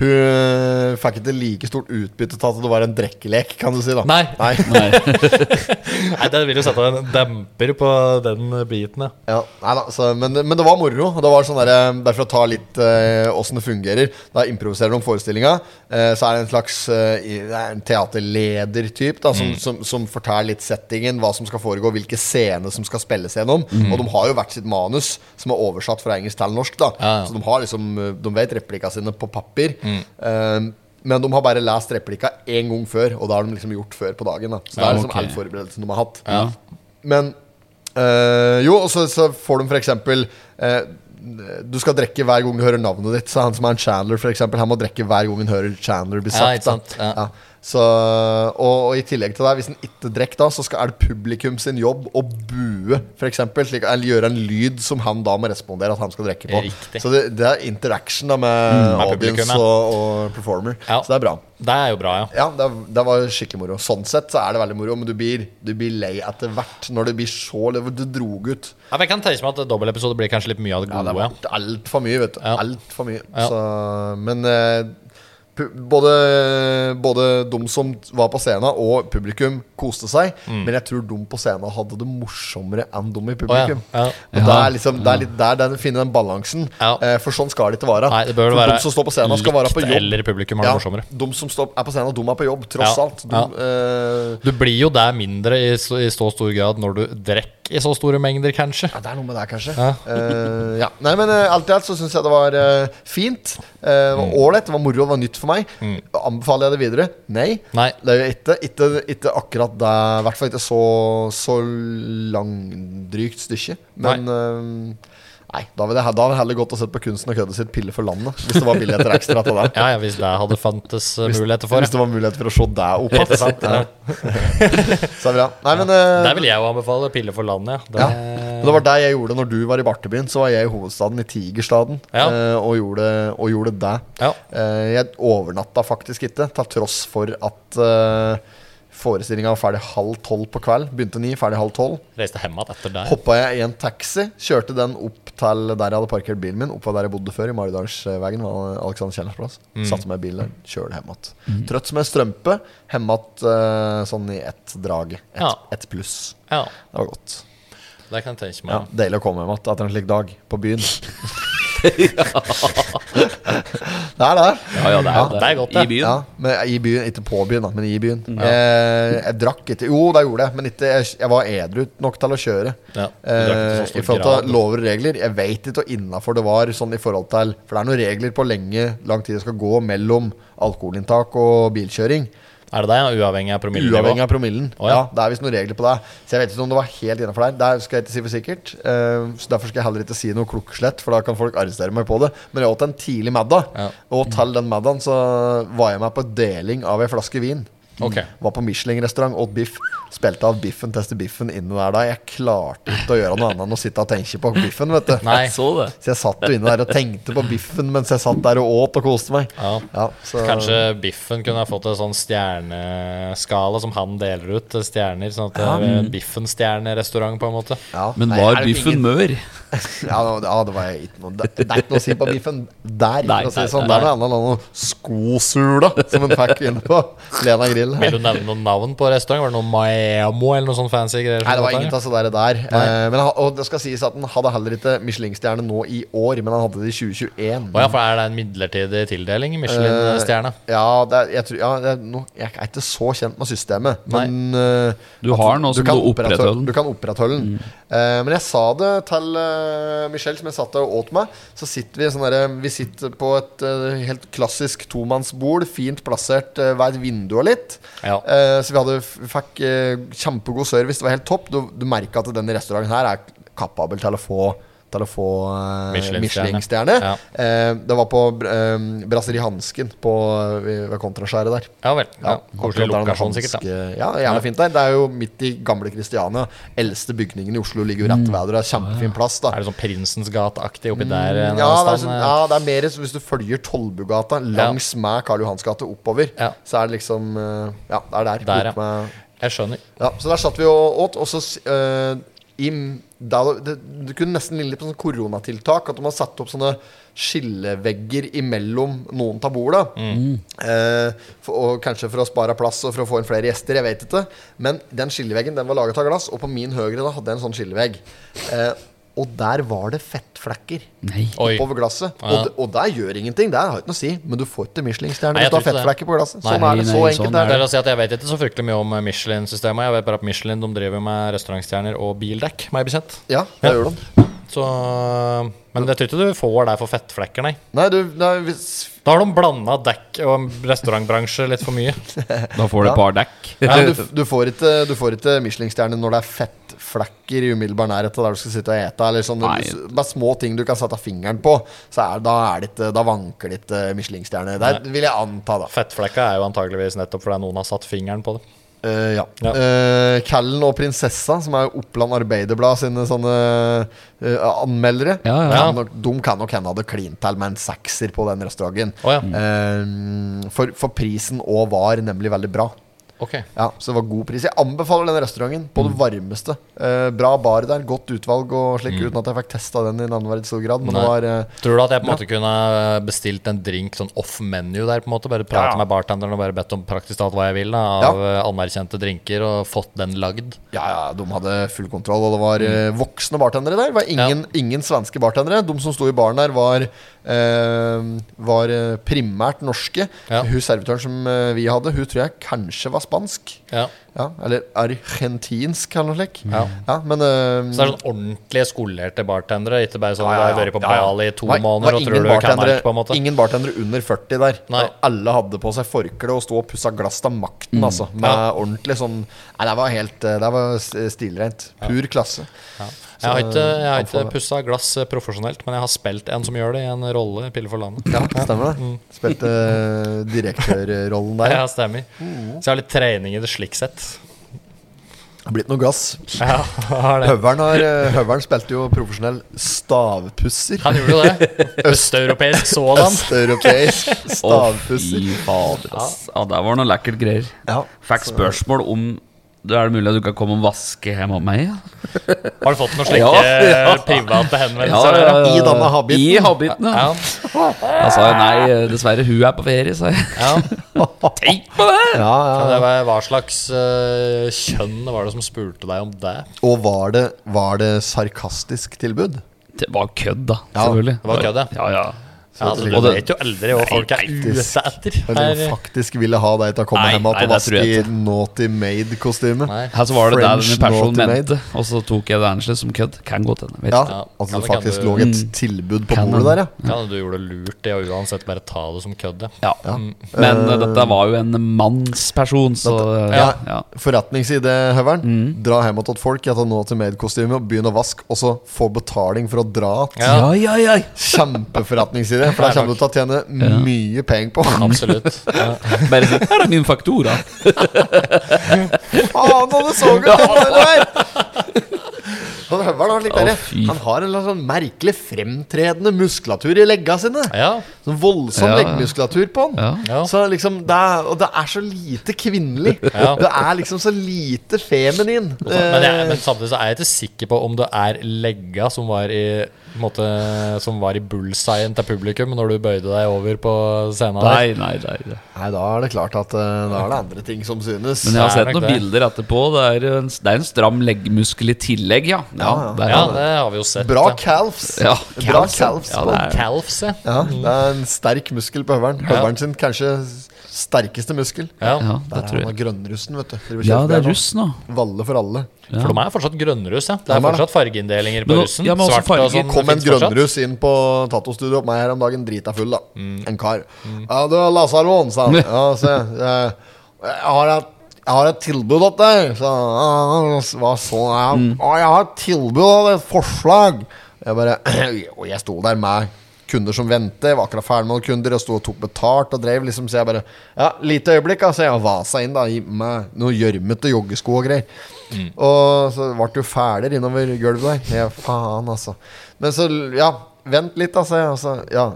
Hun fikk ikke like stort utbytte til at det var en drekkelek, kan du si. da Nei. [LAUGHS] Nei. Nei, det vil jo sette en demper på den biten, ja. Ja, nei da, så, men, men det var moro. og Det var sånn der, Derfor å ta litt eh, åssen det fungerer. Da improviserer de om forestillinga. eh, så er det en slags eh, i- det er en teaterleder-typ da, som, som, som forteller litt settingen, hva som skal foregå, hvilke scener som skal spilles gjennom. Og de har jo hvert sitt manus, som er oversatt fra engelsk til norsk. da Ja, ja. Så de har liksom eh, De vet replikka sine på papir. Eh, men de har bare lest replikka én gang før, og det har de liksom gjort før på dagen. da Så det Ja, er liksom ok. all forberedelsen de har hatt. Mm. Men øh, Jo, og så, så får de for eksempel øh, Du skal drikke hver gang du hører navnet ditt. Så han som er en Chandler, for eksempel, han må drikke hver gang han hører Chandler bli Ja, sagt. ikke da. sant, ja. Ja. Så, og, og i tillegg til det, hvis han ikke drikker da, så skal, er det publikum sin jobb å bue, for eksempel, slik, eller gjøre en lyd som han da må respondere at han skal drikke på. Riktig. Mm. Så det, det er interaction da med, med audience publikum, ja. og, og performer. Ja. Så det er bra. Det er jo bra, ja. Ja, det, det var skikkelig moro. Sånn sett så er det veldig moro, men du blir, du blir lei etter hvert. Når det blir så le- Du drog ut ja men jeg kan tenke meg at dobbeltepisode blir kanskje litt mye av det ja, det gode. var Ja, alt for mye, vet du. Ja. Alt for mye. Ja. Så, men eh, pu- både, både de som var på scenen, og publikum koste seg. Men jeg tror de på scenen hadde det morsommere enn de i publikum. Mm. Å, ja. Ja. Mm. Og det, er liksom, det er litt der den finner den balansen. Ja. Eh, for sånn skal det ikke være. Nei, det bør vel for være de som står på scenen, skal være på likt, jobb. eller publikum har det morsommere. De som står, er på scenen, de er på jobb, tross Ja. alt. De, eh, Du blir jo der mindre i så, i så stor grad når du drikker i så store mengder, kanskje. Ja, det er noe med det, kanskje. Ja. Eh, ja. Nei, men eh, alt i alt så syns jeg det var eh, fint. Eh, Det Mm. var ålreit, det var moro, det var nytt for meg. Anbefaler jeg det videre? Nei. Nei. Det er jo ikke, ikke, ikke akkurat det I hvert fall ikke så, så langdrygt stykke. Men eh, Nei, da ville jeg, he- da hadde jeg heller gått og sett på Kunsten og køddet sitt Pille for landet. Hvis det var billetter ekstra til det. [LAUGHS] Ja, ja, hvis det hadde fantes eh, muligheter for Hvis det. det var mulighet for å se deg opp igjen. sant, [LAUGHS] ja. Så er det bra. Nei, men eh, Der vil jeg jo anbefale Pille for landet, ja. ja. Det, Men det var det jeg gjorde når du var i Bartebyen. Så var jeg i hovedstaden, i Tigerstaden, Ja. eh, og, gjorde, og gjorde det. Ja. Eh, jeg overnatta faktisk ikke, til tross for at eh, Forestillinga var ferdig halv tolv på kveld. Begynte ni, ferdig halv tolv. Reiste hjem igjen etter der. Hoppa jeg i en taxi, kjørte den opp til der jeg hadde parkert bilen min. Opp av der jeg bodde før, i Maridalsvegen. var Alexander Kiellands plass. Mm. Satte meg i bilen der, kjørte hjem igjen. Trøtt som en strømpe. Hjem igjen eh, sånn i ett drag. Ett Ja. ett pluss. Ja, Det var godt. det kan jeg tenke Ja, meg. Deilig å komme hjem igjen etter en slik dag på [LAUGHS] byen. [LAUGHS] det er det. Ja, ja, det er, Ja, det det er godt, det. I byen. Mm. Ja, men I byen, ikke på byen, da, men i byen. Eh, jeg drakk ikke Jo, det gjorde jeg, men ikke, jeg, jeg var edru nok til å kjøre. Ja, du drakk ikke eh, så stor I forhold grad. til lover og regler. Jeg veit ikke hvor innafor det var sånn i forhold til For det er noen regler på lenge lang tid det skal gå mellom alkoholinntak og bilkjøring. Er det det, ja? uavhengig av promillenivå? Uavhengig av promillen. Å, ja. ja. Det er visst noen regler på det. Så jeg vet ikke om det var helt innenfor der. Det skal jeg ikke si for sikkert. Eh, så Derfor skal jeg heller ikke si noe klokkeslett, for da kan folk arrestere meg på det. Men jeg åt en tidlig middag, Ja. og til den middagen så var jeg med på deling av ei flaske vin. Ok. Var på Michelin-restaurant, åt biff. Spilte av biffen, teste biffen inne der da. Jeg klarte ikke å gjøre noe annet enn å sitte og tenke på biffen, vet du. Nei. Jeg så det. Så jeg satt jo inne der og tenkte på biffen mens jeg satt der og åt og koste meg. Ja. så Kanskje Biffen kunne ha fått en sånn stjerneskala som han deler ut til stjerner. Sånn at det er Biffen-stjernerestaurant, på en måte. ja. Men Nei, er var det ingen- biffen mør? Ja, det var- ja, det var jeg ikke noe Det det er ikke noe å si på biffen der. Nei, for å si nei, det sånn. nei. Der er det annet enn skosula, som en fikk inne på Lena Grill. her. Vil du nevne noen navn på restaurant? Var det noe Maemo eller noe sånn fancy greier? som Nei, det var var ingen av så der. der. Eh, men, han- og det skal sies at han hadde heller ikke Michelin-stjerne nå i år, men han hadde det i 2021. Å ja, for er det en midlertidig tildeling? Michelin-stjerne? Eh, Ja, det er, jeg, tror, ja det er, no, jeg er ikke så kjent med systemet, men eh, Du at har noe som kan du opprettholder. opprettholde- Du kan opprettholde den. Mm. Eh, men jeg sa det til eh, Michelle, som jeg satt og åt med. Så sitter vi, sånn derre- vi sitter på et eh, helt klassisk tomannsbord, fint plassert eh, ved et vindu og litt. Ja. Eh, så vi hadde, f- fikk eh, kjempegod service, det var helt topp. Du, du merka at denne restauranten her er kapabel til å få til å få eh, Michelin-stjerne. Michelin-stjerne. Ja. Eh, det var på eh, Brasseri Hansken på, ved ved Kontraskjæret der. Ja vel. Ja. akkurat der Koselig den lokasjon, hanske- sikkert. da Ja, gjerne fint der. Det er jo midt i gamle Kristiania. Eldste bygningen i Oslo ligger jo rett ved der. Kjempefin plass, da. Er det sånn Prinsens gate-aktig oppi der? eh, Ja, en det er, annen sånn, stand? ja, det er mer så hvis du følger Tollbugata langs med Karl Johans gate oppover, Ja. så er det liksom eh, Ja, det er der. Der, Bort ja. med- Jeg skjønner. ja, så der satt vi og åt, og så uh, i, da, det, det kunne nesten ligne litt på sånn koronatiltak. At de har satt opp sånne skillevegger imellom noen av bordene. Mm. Eh, for, og kanskje for å spare plass og for å få inn flere gjester. Jeg vet ikke. Men den skilleveggen den var laget av glass, og på min høyre da hadde jeg en sånn skillevegg. Eh, og der var det fettflekker Nei. Oi. oppover glasset. Ja. Og, det- og der gjør ingenting. Der har jeg ikke noe å si. Men du får ikke Michelin-stjerne Nei, jeg hvis du har tror ikke det. fettflekker på glasset. Nei, Sånn er det. nei, Så nei, enkelt sånn er det. Det er å si at Jeg vet ikke så fryktelig mye om Michelin-systemet. Jeg vet bare at Michelin de driver med restaurantstjerner og bildekk, meg bekjent. Ja, det gjør de. Så, men jeg tror ikke du får det for fettflekker, nei. Nei, du, nei, hvis Da har de blanda dekk og restaurantbransje litt for mye. Da får du et par dekk. Ja, du, du får ikke, du får ikke Michelin-stjerne når det er fettflekker i umiddelbar nærhet av der du skal sitte og ete. Eller sånn, Nei. s- bare små ting du kan sette fingeren på. Så er, da, er det ikke, da vanker det ikke eh, Michelin-stjerne. Der vil jeg anta, da. Fettflekka er jo antageligvis nettopp fordi noen har satt fingeren på det. Eh, ja. Ja. Eh, Callen og Prinsessa, som er Oppland Arbeiderblad sine sånne eh, anmeldere, Ja, ja. Kan nok, de kan nok hende hadde klint til med en sekser på den restauranten. Å ja. Eh, for, for prisen òg var nemlig veldig bra. Ok. Ja, så det var god pris. Jeg anbefaler den restauranten på Mm. det varmeste. Eh, bra bar der, godt utvalg og slik, uten at jeg fikk testa den i navnverdig stor grad. Men det Mm. Nei. var eh, Tror du at jeg på en måte kunne bestilt en drink sånn off menu der? på en måte Bare prate med bartenderen og bare bedt om praktisk talt hva jeg vil da, av eh, anerkjente drinker, og fått den lagd? Ja, ja, de hadde full kontroll, og det var Mm. eh, voksne bartendere der. Det var ingen, ingen svenske bartendere. De som sto i baren der, var, eh, var eh, primært norske. Ja. Hun servitøren som eh, vi hadde, hun tror jeg kanskje var spansk. Ja. Ja, eller argentinsk, eller noe slikt. Ja. men eh, Så det er sånn ordentlige skolerte bartendere, ikke bare sånn Ja, ja, ja, ja. du har vært på Ja, ja. Bali i to Nei, måneder og det var tror ingen du kan bartendere- alt, på en måte. Ingen bartendere under 40 der. Nei. Og alle hadde på seg forkle og sto og pussa glass til makten, altså. Med Mm. Ja. ordentlig sånn Nei, det var helt eh, Det var s- stilrent. Pur klasse. Jeg har ikke, jeg har ikke anbefaler. pussa glass eh, profesjonelt, men jeg har spilt en som gjør det, i en rolle i Pille for landet. [LAUGHS] Ja, stemmer Mm. det. Spilte eh, [LAUGHS] direktørrollen der. Mm. Ja, stemmer. Så jeg har litt trening i det slik sett. Ja, har blitt noe gass. Ja, [LAUGHS] har det. Høveren, har, eh, høveren spilte jo profesjonell stavpusser. Han gjorde [LAUGHS] jo det. Østeuropeisk sådan. [LAUGHS] Østeuropeisk Å, fy stavpusser. fader, ass. Ja, der var det noe lekkert greier. Ja. Fikk spørsmål om det er det mulig at du kan komme og vaske hjemme hos meg? Ja. Har du fått noen slike eh, Ja, ja. private Ja, henvendelser? ja, ja. I denne habiten. I habiten, ja. Ja. Jeg sa jo nei, dessverre, hun er på ferie, sa jeg. Ja. [LAUGHS] Tenk på det! Ja, ja. Ja, det var, hva slags eh, kjønn var det som spurte deg om det? Og var det, var det sarkastisk tilbud? Det var kødd, da. Ja, Selvfølgelig. det var kødd, ja. ja. ja. Ja, altså, du Og det- vet jo aldri hva folk er Nei, ute etter. Eller Her. faktisk ville ha deg til å komme Nei, hjem igjen nei, og det tror vaske jeg i Naughty Maid-kostyme? Nei. Her så var det det French denne personen naughty mente, og så tok jeg det annerledes som kødd. Kan godt hende. vet Ja, ikke. Ja, altså kan det det- kan faktisk du- lå et Mm. tilbud på Kan bordet den- der, ja. Ja, du gjorde lurt i å uansett bare ta det som kødd. ja. Ja. Men eh, dette var jo en mannsperson, så eh, ja. ja. Mm. Forretningside, Høveren. Dra hjem til folk i et Naughty Maid-kostyme og begynn å vaske, og så få betaling for å dra. Ja. ja, Ja. ja. Kjempeforretningside, for der kommer du til å tjene mye penger på. [LAUGHS] Absolutt. [LAUGHS] Ja. Bare si 'her er min faktura'. Faen, han så godt ut der! Han Høveren har slik Å, derre fy. Han har en eller annen sånn merkelig fremtredende muskulatur i legga sine. Ja. Sånn voldsom Ja. leggmuskulatur på han. Ja. Ja. Så liksom det er, Og det er så lite kvinnelig. [LAUGHS] Ja. Det er liksom så lite [LAUGHS] feminin. Men, jeg, Eh, men samtidig så er jeg ikke sikker på om det er legga som var i på en måte, Som var i bullseyen til publikum når du bøyde deg over på scenen. der. Nei, nei, nei. nei. Nei, da er det klart at eh, da er det andre ting som synes. Men jeg har Det er sett nok noen det. bilder etterpå. Det er en, det er en stram leggmuskel i tillegg, ja. Ja, det er, Ja, det har vi jo sett. Bra ja. calves. Ja, Bra calves, calves ja. Ja, på det han. er- Calves, ja. ja, det er en sterk muskel på høveren. Høveren sin kanskje sterkeste muskel. Ja. ja, det Der er tror han jeg. av grønnrussen, vet du. Driver Ja, kjøper det der er nå. russ nå. Valle for alle. For de er fortsatt grønnruss, ja. Det Ja, er men da- fortsatt fargeinndelinger på Men nå- russen. ja, men også Svart og farger. sånn. Kom det en finnes fortsatt. grønnruss inn på Tato-studioet meg her om dagen, drita full, da. En kar. 'Ja, du, Lasarvoen', sa han. Ja, se, jeg, 'Jeg har et jeg har et tilbud til deg', sa han. «Ja, Hva så? Ja, «Ja, 'Jeg har et tilbud, da, et forslag'. Jeg bare [CLEARS THROAT] Og jeg sto der med kunder som ventet, jeg var akkurat ferdig med noen kunder, jeg sto og tok betalt og drev, liksom, så jeg bare Ja, lite øyeblikk, altså. Jeg vasa inn, da, i meg noe gjørmete joggesko og greier. Og så ble det jo fæler innover gulvet der. Ja, faen, altså. Men så, ja, vent litt, altså. Og så, ja.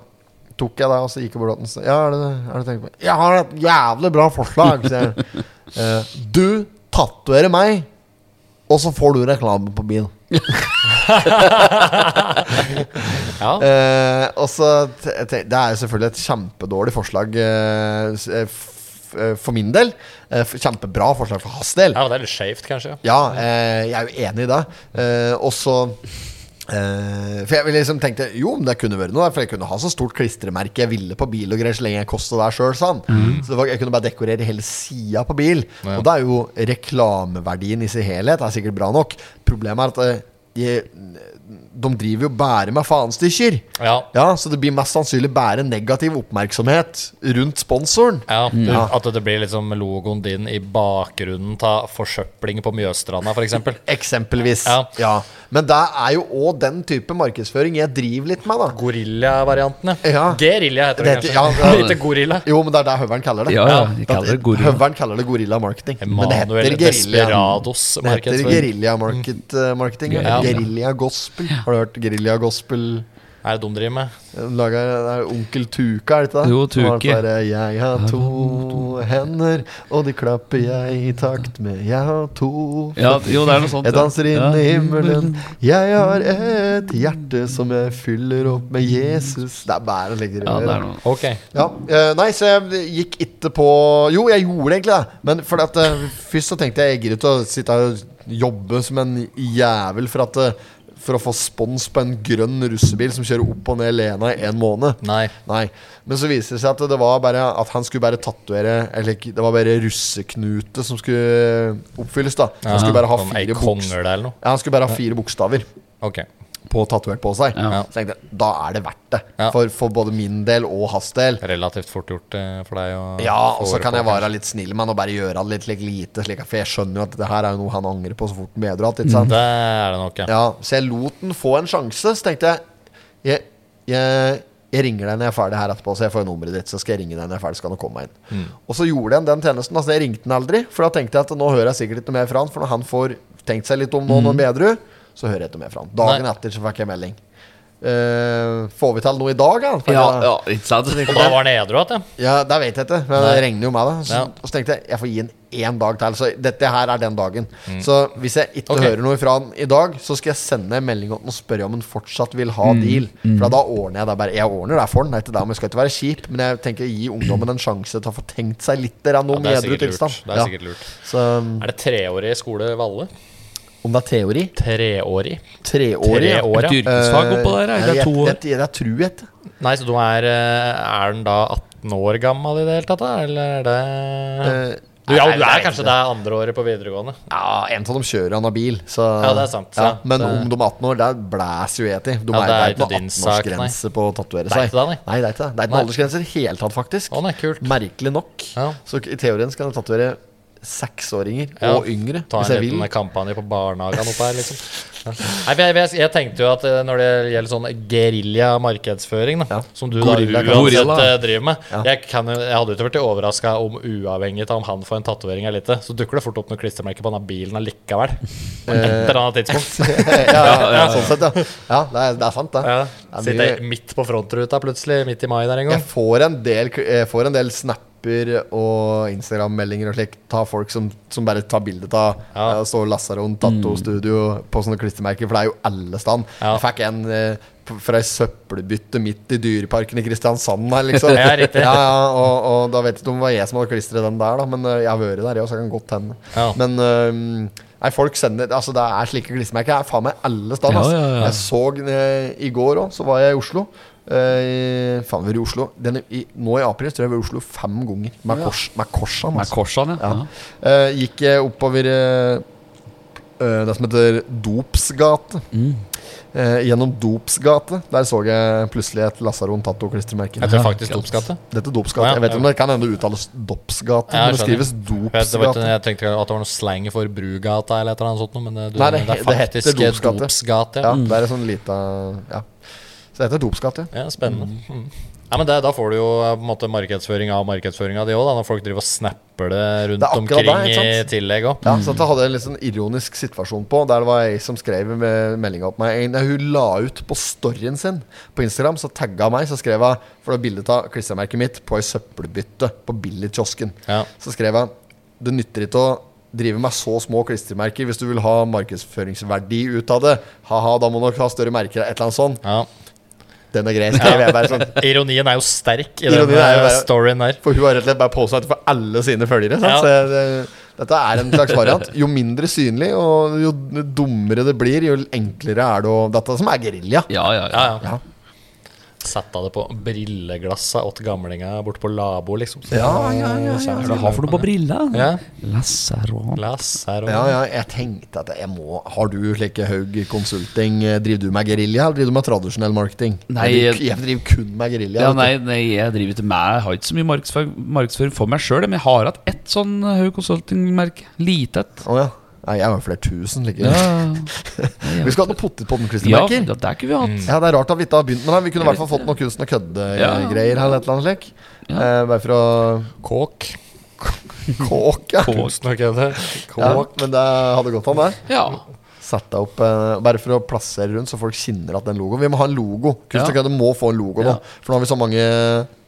Tok jeg deg, og så gikk jeg bort til den. så, Ja, er det, er det tenkt på? Jeg har et jævlig bra forslag, sier jeg. Eh, du tatoverer meg, og så får du reklame på bil. Ja. Eh, og så te- te- Det er jo selvfølgelig et kjempedårlig forslag eh, s- eh, f- eh, for min del. Eh, f- kjempebra forslag for hans del. Ja, men det er litt skjevt, kanskje. Ja, eh, jeg er jo enig i det. Eh, og så eh, For jeg ville liksom tenkte jo, men det kunne vært noe. For jeg kunne ha så stort klistremerke jeg ville på bil og greier, så lenge jeg kosta det sjøl, sa han. Så det var, jeg kunne bare dekorere hele sida på bil. Og da er jo reklameverdien i sin helhet er sikkert bra nok. Problemet er at eh, de, de driver jo bare med faenstykker. Ja. Ja, så det blir mest sannsynlig bare negativ oppmerksomhet rundt sponsoren. Ja, Mm. du, At det blir liksom logoen din i bakgrunnen av forsøpling på Mjøsstranda, f.eks. Eksempelvis. Ja. Men det er jo òg den type markedsføring jeg driver litt med, da. Gorilla-variantene. Ja. Gerilla heter det, Det heter- kanskje. ja, ja. Ikke gorilla. Jo, men det er det Høveren kaller det. Ja, ja, de kaller det gorilla. Høveren kaller det gorilla marketing. Men det heter Emanuel guerilla. Desperados. Det heter markedsføring. guerilla market, eh, marketing. Ja. Ja. Guerilla gospel. Har du hørt guerilla gospel? Er det de driver med? Laga, det er Onkel Tuka, er det ikke det? Jo, Som var Tuke. sånn der, Jeg har to hender, og de klapper jeg i takt med. Jeg har to Ja, jo, det er noe sånt. Jeg ja. danser inn Ja. i himmelen. Jeg har et hjerte som jeg fyller opp med Jesus. Det er bare å legge det Ja, det er i noe. Ok. ja, eh, nei, så jeg gikk ikke på Jo, jeg gjorde det egentlig det. Men fordi at eh, først så tenkte jeg jeg gidder ikke å sitte her og jobbe som en jævel for at eh, For å få spons på en grønn russebil som kjører opp og ned Lena i en måned. Nei. Nei, Men så viser det seg at det var bare At han skulle bare tatovere Eller ikke, det var bare russeknute som skulle oppfylles. da Han skulle bare ha Som Sånn ei fire, kongle bokst eller noe. ja, han skulle bare ha fire bokstaver Ok. på tatovert på seg. Ja. Så tenkte jeg da er det verdt det. Ja. For, for både min del og hans del. Relativt fort gjort eh, for deg å Ja, og få så ordet kan på, jeg være kanskje. litt snill med han og bare gjøre han litt, litt lite, slik at, for jeg skjønner jo at det her er jo noe han angrer på så fort han bedrer alt, ikke sant? Mm, Det er det nok, ja. Ja, så jeg lot den få en sjanse, så tenkte jeg jeg, jeg Jeg ringer deg når jeg er ferdig her etterpå, så jeg får jo nummeret ditt. Så skal jeg ringe deg når jeg er ferdig, så kan du komme inn. Mm. Og så gjorde jeg den tjenesten. Altså, jeg ringte den aldri, for da tenkte jeg at nå hører jeg sikkert ikke noe mer fra han. For når han får tenkt seg litt om nå, når Bedru, så hører jeg ikke noe mer fra han. Dagen Mm. Nei. etter så fikk jeg melding. Eh, får vi til noe i dag, da? Ja, ja, ikke sant? Og da var han edru igjen, ja. Ja, det vet jeg ikke, men Nei. jeg regner jo med det. Så, Ja. og så tenkte jeg jeg får gi den én dag til. Så dette her er den dagen. Så hvis jeg ikke Mm. Ok. hører noe fra han i dag, så skal jeg sende en melding om og spørre om han fortsatt vil Mm. ha deal. For da ordner jeg det bare. Jeg ordner det for han, det er ikke det, men jeg skal ikke være kjip. Men jeg tenker gi ungdommen en sjanse til å få tenkt seg litt grann Ja, om det er edru sikkert lurt. tilstand. Det er Ja. sikkert lurt. Så um, Er det treårig skole Valle? om det er teori Treårig? Treårig? ja. [LAUGHS] Treårig, Et ja. yrkesfag oppå der, Eh, er det jeg- to jeg- jeg- jeg tror jeg ikke. Nei, så du er eh, Er den da 18 år gammel i det hele tatt, da? Eller er det Eh, du, Ja, nei, du det er er kanskje det andre året på videregående. Ja, en av dem kjører han av bil, så Ja, det er sant, så- Ja, Men det- om de er 18 år, der blæser jo jeg til. De Ja, er, det det er er ikke noen ikke din sak, 18-årsgrense på å tatovere Det er seg. ikke det, nei, det er ikke det. Det er ikke Nei. noen aldersgrense i det hele tatt, faktisk. Å, nei, kult. Merkelig nok. Ja. Så i teorien skal de tatovere seksåringer Ja, og yngre, Ta hvis en jeg vil. [LAUGHS] liten kampanje på barnehagen oppe her, liksom. Ja. Nei, for jeg, jeg, jeg tenkte jo at eh, når det gjelder sånn gerilja-markedsføring, da, Ja. som du Gorilla. da uansett Gorilla. eh, driver med Ja. jeg, kan, jo- jeg hadde jo ikke vært overraska om uavhengig av om han får en tatovering eller ikke, så dukker det fort opp noen klistremerker på denne bilen allikevel. [LAUGHS] På et Eh, eller annet tidspunkt. ja, ja, ja, sånn sett, ja. ja det, er, det er sant, det. Ja. Det er mye- Sitter midt på frontruta plutselig, midt i mai der en gang. Jeg får en del, jeg får en del snapper og Instagram-meldinger og slik. Ta folk som, som bare tar bilde av eh, Ja. Mm. ja. Står Lasaron Tattoo-studio på sånne klistremerker, for det er jo alle stand. Ja. Jeg fikk en eh, p- fra ei søppelbytte midt i Dyreparken i Kristiansand her, liksom. [LAUGHS] Ja, riktig. ja, ja, og, og da vet jeg ikke om det var jeg som hadde klistret den der, da, men eh, jeg har vært der, jeg, så jeg kan godt hende. Ja. Men eh, Nei, folk sender Altså, det er slike klistremerker. Det er faen meg alle stand. Ja, ass. ja, ja. Jeg så eh, i går òg, så var jeg i Oslo. Eh, faen, vi var i Oslo Denne, i, Nå i april tror jeg vi var i Oslo fem ganger. Med, kors, med korsene. Med Altså. korsene, ja. Ja. Eh, gikk jeg oppover eh, eh, det som heter Dopsgate. Mm. Eh, gjennom Dopsgate. Der så jeg plutselig et Lasaron Tato-klistremerke. Jeg tror faktisk Dopsgate. Dette er Dopsgate. Ja, Jeg vet ja. ikke om det kan hende det uttales Dopsgate, Ja, jeg men det skrives Jeg, det var ikke, Dopsgate. jeg tenkte at det var noe slang for Brugata eller et eller annet sånt, noe, men eh, du, Nei, det, det er he- det heter faktisk eh, Dopsgate. Dopsgate. Ja, det er en sånn lita Ja. Så det heter Dopsgate. Ja, spennende. Mm. Ja, men det, Da får du jo eh, på en måte markedsføring av markedsføring av de òg, når folk driver og snapper det rundt Det er akkurat omkring det, ikke i sant? tillegg òg. Ja, så da hadde jeg en litt sånn ironisk situasjon på. Der det var jeg som skrev med meldinga opp meg. Nei, Hun la ut på storyen sin på Instagram, så tagga meg. Så skrev hun For det er bilde av klistremerket mitt på ei søppelbytte på Billigkiosken. Ja. Så skrev jeg Det nytter ikke å drive med så små klistremerker hvis du vil ha markedsføringsverdi ut av det. Ha-ha, da må du nok ha større merker. Et eller annet sånt. Ja. Den er grei, skrev jeg bare sånn. Ironien er jo sterk i Ironien den er jo eh, bare- storyen der. For hun har rett og slett bare posta for alle sine følgere. Sant? Ja. Så jeg- det, dette er en slags variant. [LAUGHS] Jo mindre synlig og jo dummere det blir, jo enklere er det å Dette som er gerilja. Ja, ja, Ja, ja. ja. Ja. Sette det på brilleglasset åt gamlinga bort på labo, liksom. Så Ja, ja, ja, Hva kjenner du er det du har for noe på brilla? Ja. Lasaron. Glass her og Ja, ja, jeg tenkte at jeg må Har du slike Haug Consulting? eh, Driver du med gerilja, eller driver du med tradisjonell marketing? Nei, jeg, driver, jeg driver kun med gerilja. Ja, vet du. nei, nei, jeg driver til meg Jeg har ikke så mye markedsføring, markedsføring for meg sjøl, men jeg har hatt ett sånn Haug Consulting-merke. Lite et. Å, ja. nei, jeg har flere tusen slike. Ja, Vi skal ha noen ja, potetpottenklistremerker. det er ikke vi har hatt. Ja, det er rart at vi ikke har begynt med det. Vi kunne i hvert fall fått noe kunst og kødde-greier her, eller et eller annet slik. Ja. Eh, bare for å [LAUGHS] Kåk. kåke. Kunsten og kødde. Ja, Kåk. men det hadde gått an, det. Ja. Sett deg opp eh, Bare for å plassere rundt, så folk kjenner at den logoen Vi må ha en logo. Kunst og Ja. kødde må få en logo nå, Ja. for nå har vi så mange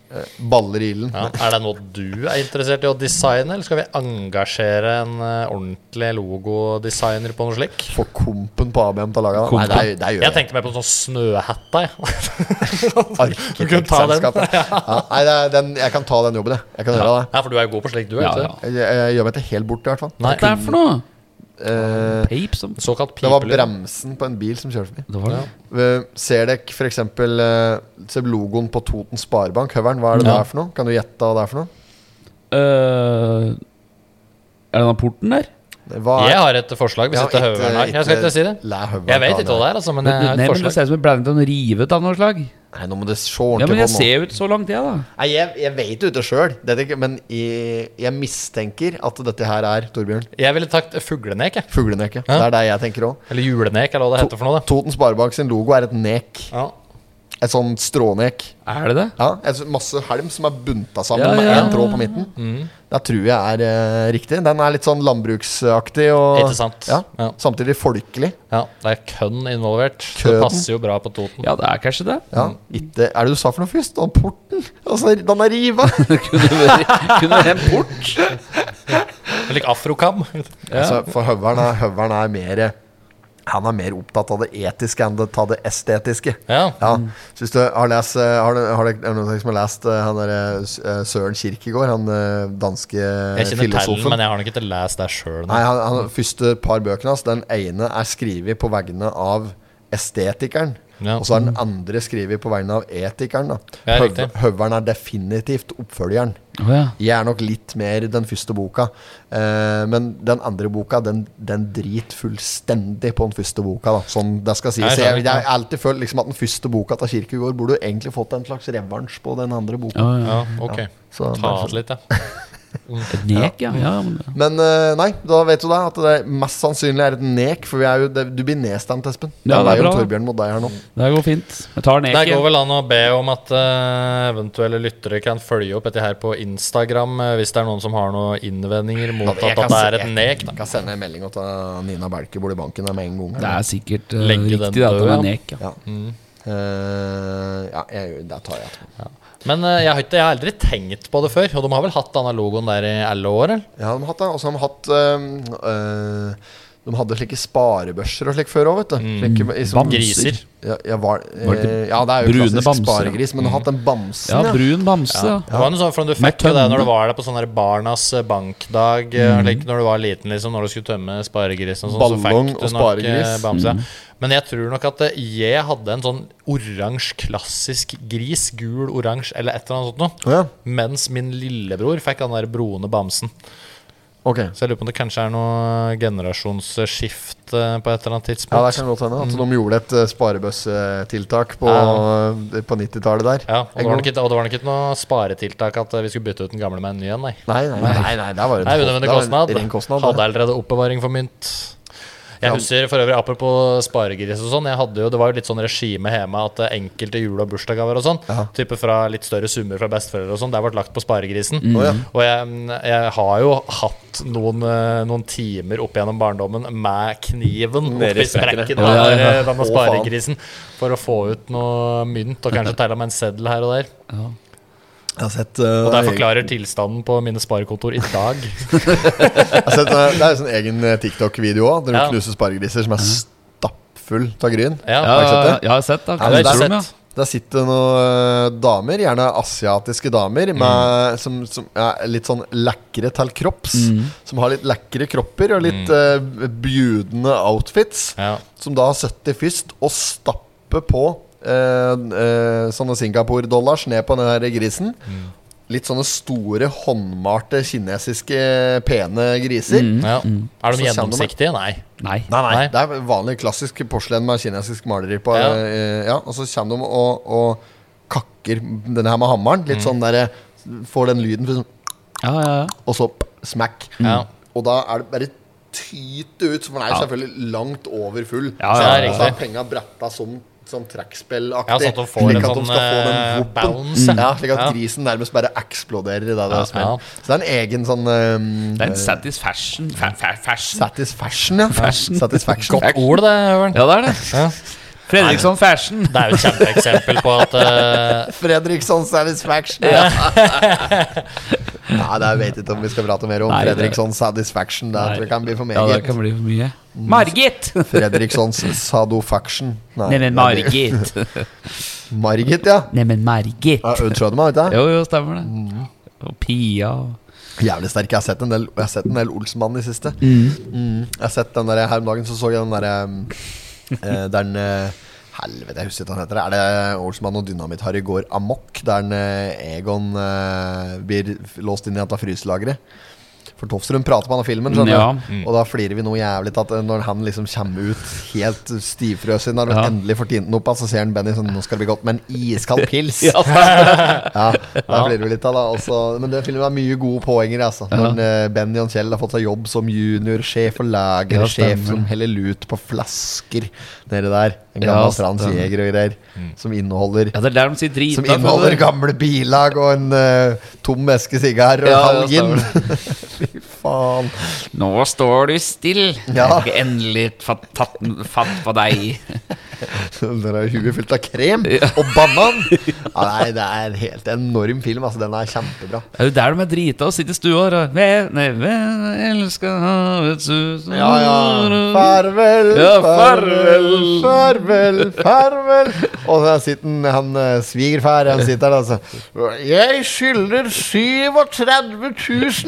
eh, baller i ilden. Ja. Er det noe du er interessert i å designe, eller skal vi engasjere en eh, ordentlig logodesigner på noe slik? Få kompen på ABM til å lage den. Kompen. Nei, det, er- det gjør Jeg jeg. tenkte meg på en sånn snøhette. Jeg. [LAUGHS] Arkitektselskapet. Ja, nei, det er den, jeg kan ta den jobben, jeg. Jeg kan gjøre det. Ja, for du er jo god på slik, du. er Ja, ikke ja. det? Jeg, jeg gjør meg ikke helt bort, i hvert fall. Nei, Hva er det for noe? Eh, Pape som [LAUGHS] Såkalt det var pipelyd. bremsen på en bil som kjørte forbi. Det var det. Eh, Ser dere for eksempel eh, ser logoen på Toten Sparebank, høveren, hva er det Ja. det er for noe? Kan du gjette hva det er for noe? Øh, Er det den porten der? Hva Jeg har et forslag, hvis Ja, ikke høveren her. Jeg skal ikke si det. Læ høveren Jeg vet ikke hva hva det er, altså, men jeg har Nei, et men Det forslag. ser ut som en blanding av noe rivet av noe slag. er. Nei, nå må du se Ja, ordentlig men på jeg den nå. ser jo ikke så langt, jeg, da. Nei, jeg, jeg vet jo ikke sjøl, men jeg, jeg mistenker at dette her er Torbjørn. Jeg ville takt fuglenek, jeg. Fugleneke. Ja. Det er det jeg tenker òg. Eller julenek, eller hva det heter for noe. Toten Sparebank sin logo er et nek. da Ja, Et sånt strånek. Er det det? Ja, et, sånt masse helm som er bunta sammen Ja, med ja, én tråd på midten. Det tror jeg er eh, riktig. Den er litt sånn landbruksaktig. Og, Ikke sant? Ja, Ja. Samtidig folkelig. Ja, det er kønn involvert. Det Køden. passer jo bra på Toten. Ja, det er kanskje det. Ja, ikke, er det du sa for noe først? Den porten? Altså, den er riva! Kunne vært kunne vært en port. Eller afrokam. [LAUGHS] altså, for høveren er, høveren er mer Han er mer opptatt av det etiske enn det, av det estetiske. Ja. Ja. Så hvis du har lest eh, Har, du, har du, er det noen som har lest eh, han der, eh, S- eh, Søren Kierkegaard, han eh, danske Jeg kjenner tellen, filosofen? men jeg har nok ikke lest det sjøl. Nei, han, han første par bøkene hans, den ene er skrevet på vegne av estetikeren. Ja. Og så er den andre skrevet på vegne av etikeren. Da. Ja, Høv, riktig. høveren er definitivt oppfølgeren. Å ja. Jeg er nok litt mer den første boka, eh, men den andre boka den, den driter fullstendig på den første boka. Da. Sånn det skal sies. Jeg Jeg, skjønner. jeg, har alltid følt liksom, at den første boka til Kirkegård burde jo egentlig fått en slags revansj på den andre boka. Ja, Ja, ok. Så Ta derfor- av litt, ja. Et nek, ja. ja. men- Men eh, nei, da vet du det. At det mest sannsynlig er et nek. For vi er jo, det, du blir nedstemt, Espen. Ja, det er jo bra. Torbjørn mot deg her nå. Mm. Det går fint. Jeg tar Det går neket. vel an å be om at eh, eventuelle lyttere kan følge opp dette her på Instagram, eh, hvis det er noen som har noen innvendinger mot Jeg at, at det kan er se- et nek. Jeg Da. kan sende en melding til Nina Belke bor i banken der med en gang. Det er sikkert eh, Legge den riktig da, at død, det ja. er nek. Ja. Ja, Mm. Eh, ja jeg, der tar jeg etterpå. Men eh, jeg, har ikke, jeg har aldri tenkt på det før, og de har vel hatt denne logoen der i alle år? eller? Ja, de har hatt det. Og så har de hatt øhm, øh, De hadde slike sparebørser og slik før òg, vet du. Slike, i sånn- Bamser. Griser. Ja, ja, var, eh, Var det ja, det er jo brune klassisk bamser, ja. sparegris, men de har hatt den bamsen, ja, brun bamse. Ja. Det var noe sånn, for Du Med fikk jo det tønne. når du var der på sånn der Barnas eh, bankdag, eh, like, når du var liten, liksom, når du skulle tømme sparegrisen. og Sånn, så Mhm. Ballong fikk du og nok, eh, sparegris. Mhm. bamse. Men jeg tror nok at eh, jeg hadde en sånn oransje, klassisk gris. Gul, oransje eller et eller annet sånt noe. Ja. Mens min lillebror fikk han der brune bamsen. Ok. Så jeg lurer på om det kanskje er noe generasjonsskift eh, på et eller annet Ja, det tidspunkt. kan godt hende at de gjorde et eh, sparebøssetiltak på, eh, på 90-tallet der. Ja, og, det En var gang. nok ikke, og det var nok ikke noe sparetiltak at eh, vi skulle bytte ut den gamle med en ny en, nei. Nei, nei, nei, nei, nei, der var det Nei, en unødvendig kost- der var kostnad. det en ren kostnad. Hadde der. allerede oppbevaring for mynt. Jeg husker for øvrig, apropos sparegris og sånn, jeg hadde jo, det var jo litt sånn regime hjemme at eh, enkelte jule- og bursdagsgaver og sånn, type fra litt større summer fra besteforeldre og sånn, det ble lagt på sparegrisen. Mm. Og jeg, jeg har jo hatt noen, eh, noen timer opp gjennom barndommen med kniven Nede i oppi sprekken sprekkene. av Ja, ja, ja. eh, denne Å, faen. sparegrisen for å få ut noe mynt, [LAUGHS] og kanskje teile med en seddel her og der. Jeg har sett, eh, Og det egen- forklarer tilstanden på mine sparekontor i dag. Jeg har sett, eh, det er jo sånn egen eh, TikTok-video òg, der du Ja. knuser sparegriser som er stappfull av gryn. Ja, Ja, Har du sett det? jeg har sett det. Ja, men Kanskje det er rom, sett. Der sitter noen eh, damer, gjerne asiatiske damer, med, som, som er litt sånn lekre til kropps. Som har litt lekre kropper og litt eh, bjudende outfits. Ja. Som da har sittet først og stappet på eh, eh, sånne Singapore-dollars ned på den her grisen. Litt sånne store, håndmalte, kinesiske, pene griser. Ja. Er Så de kjenner man- gjennomsiktige? Nei. ja. Nei. Nei, nei, Nei. det er vanlig klassisk porselen med kinesisk maleri på. Ja. eh, ja, og så kommer de og, og kakker denne her med hammeren. Mm. Litt sånn derre Får den lyden, sånn, Ja, ja, ja. og så p- smack. Mm. Ja. Og da er det bare tyte ut, for den er jo Ja. selvfølgelig langt over full. Ja, så ja, er, ja, så er riktig. penga bretta som Sånn Ja, trekkspillaktig. sånn at de får en at de sånn, skal få den eh, whoopen. bounce, Ja, slik at ja. grisen nærmest bare eksploderer i det det Ja, ja. smeller. Så det er en egen sånn eh, Det er en satisfaction. Fa fa fashion. Satisfaction, ja. Fashion. Satisfaction. Godt ord, det, Øveren. Ja, det er det. Ja. Fredriksson fashion. Det er jo et kjempeeksempel på [LAUGHS] at eh, Fredriksson Satisfaction. Nei, det vet jeg ikke om vi skal prate mer om. Nei, det- Fredriksson Satisfaction. Det tror jeg kan bli for Ja, det meget. kan bli for mye. [LAUGHS] Margit! Fredrikssons Sadofaction. Nei, Neimen, [LAUGHS] Margit. Margit, ja. Neimen, Margit. Ja, Aud Schødemann, vet du. Jo, jo, stemmer det. Og [LAUGHS] Pia og Jævlig sterk. Jeg har sett en del, jeg har sett en del Olsenmann i siste. Mm. Jeg har sett den der her om dagen, så så jeg den derre eh, Der den eh, Helvete, jeg husker ikke hva han heter. Er det Olsenmann og Dynamitt-Harry går amok? Der den, eh, Egon eh, blir f- låst inn i et av fryselageret. For Tofsrud prater med han i filmen, skjønner Ja. du. og da flirer vi noe jævlig til at eh, når han liksom kommer ut helt stivfrøsen, når han Ja. endelig får tint den opp, igjen, så ser han Benny sånn Nå skal det bli godt med en iskald [LAUGHS] pils. ja, da flirer vi litt av det. Også. Men den filmen har mye gode poenger. Altså. Når eh, Benny og Kjell har fått seg jobb som junior, sjef for lager, Ja, stemmer. sjef som heller lut på flasker nede der. En gammel Ja, fransk stemmer. jeger og greier. Som inneholder Ja, det er der de sier drita. som inneholder gamle bilag og en eh, tom eske sigar og Ja, ja, halv gin. [LAUGHS] Fy faen. Nå står du stille. Ja. Jeg har endelig fatt, tatt fatt på deg. [LAUGHS] Der er huet fullt av krem og banan. Ja, nei, det er en helt enorm film. Altså, den er kjempebra. Det er jo der de er drita og sitter i stua og Ve- Nei, ve- elsker havets sus Ja, ja. Farvel, Ja, farvel, farvel. farvel, farvel. Og der sitter han, han eh, svigerfar, han sitter der og sier Jeg skylder 37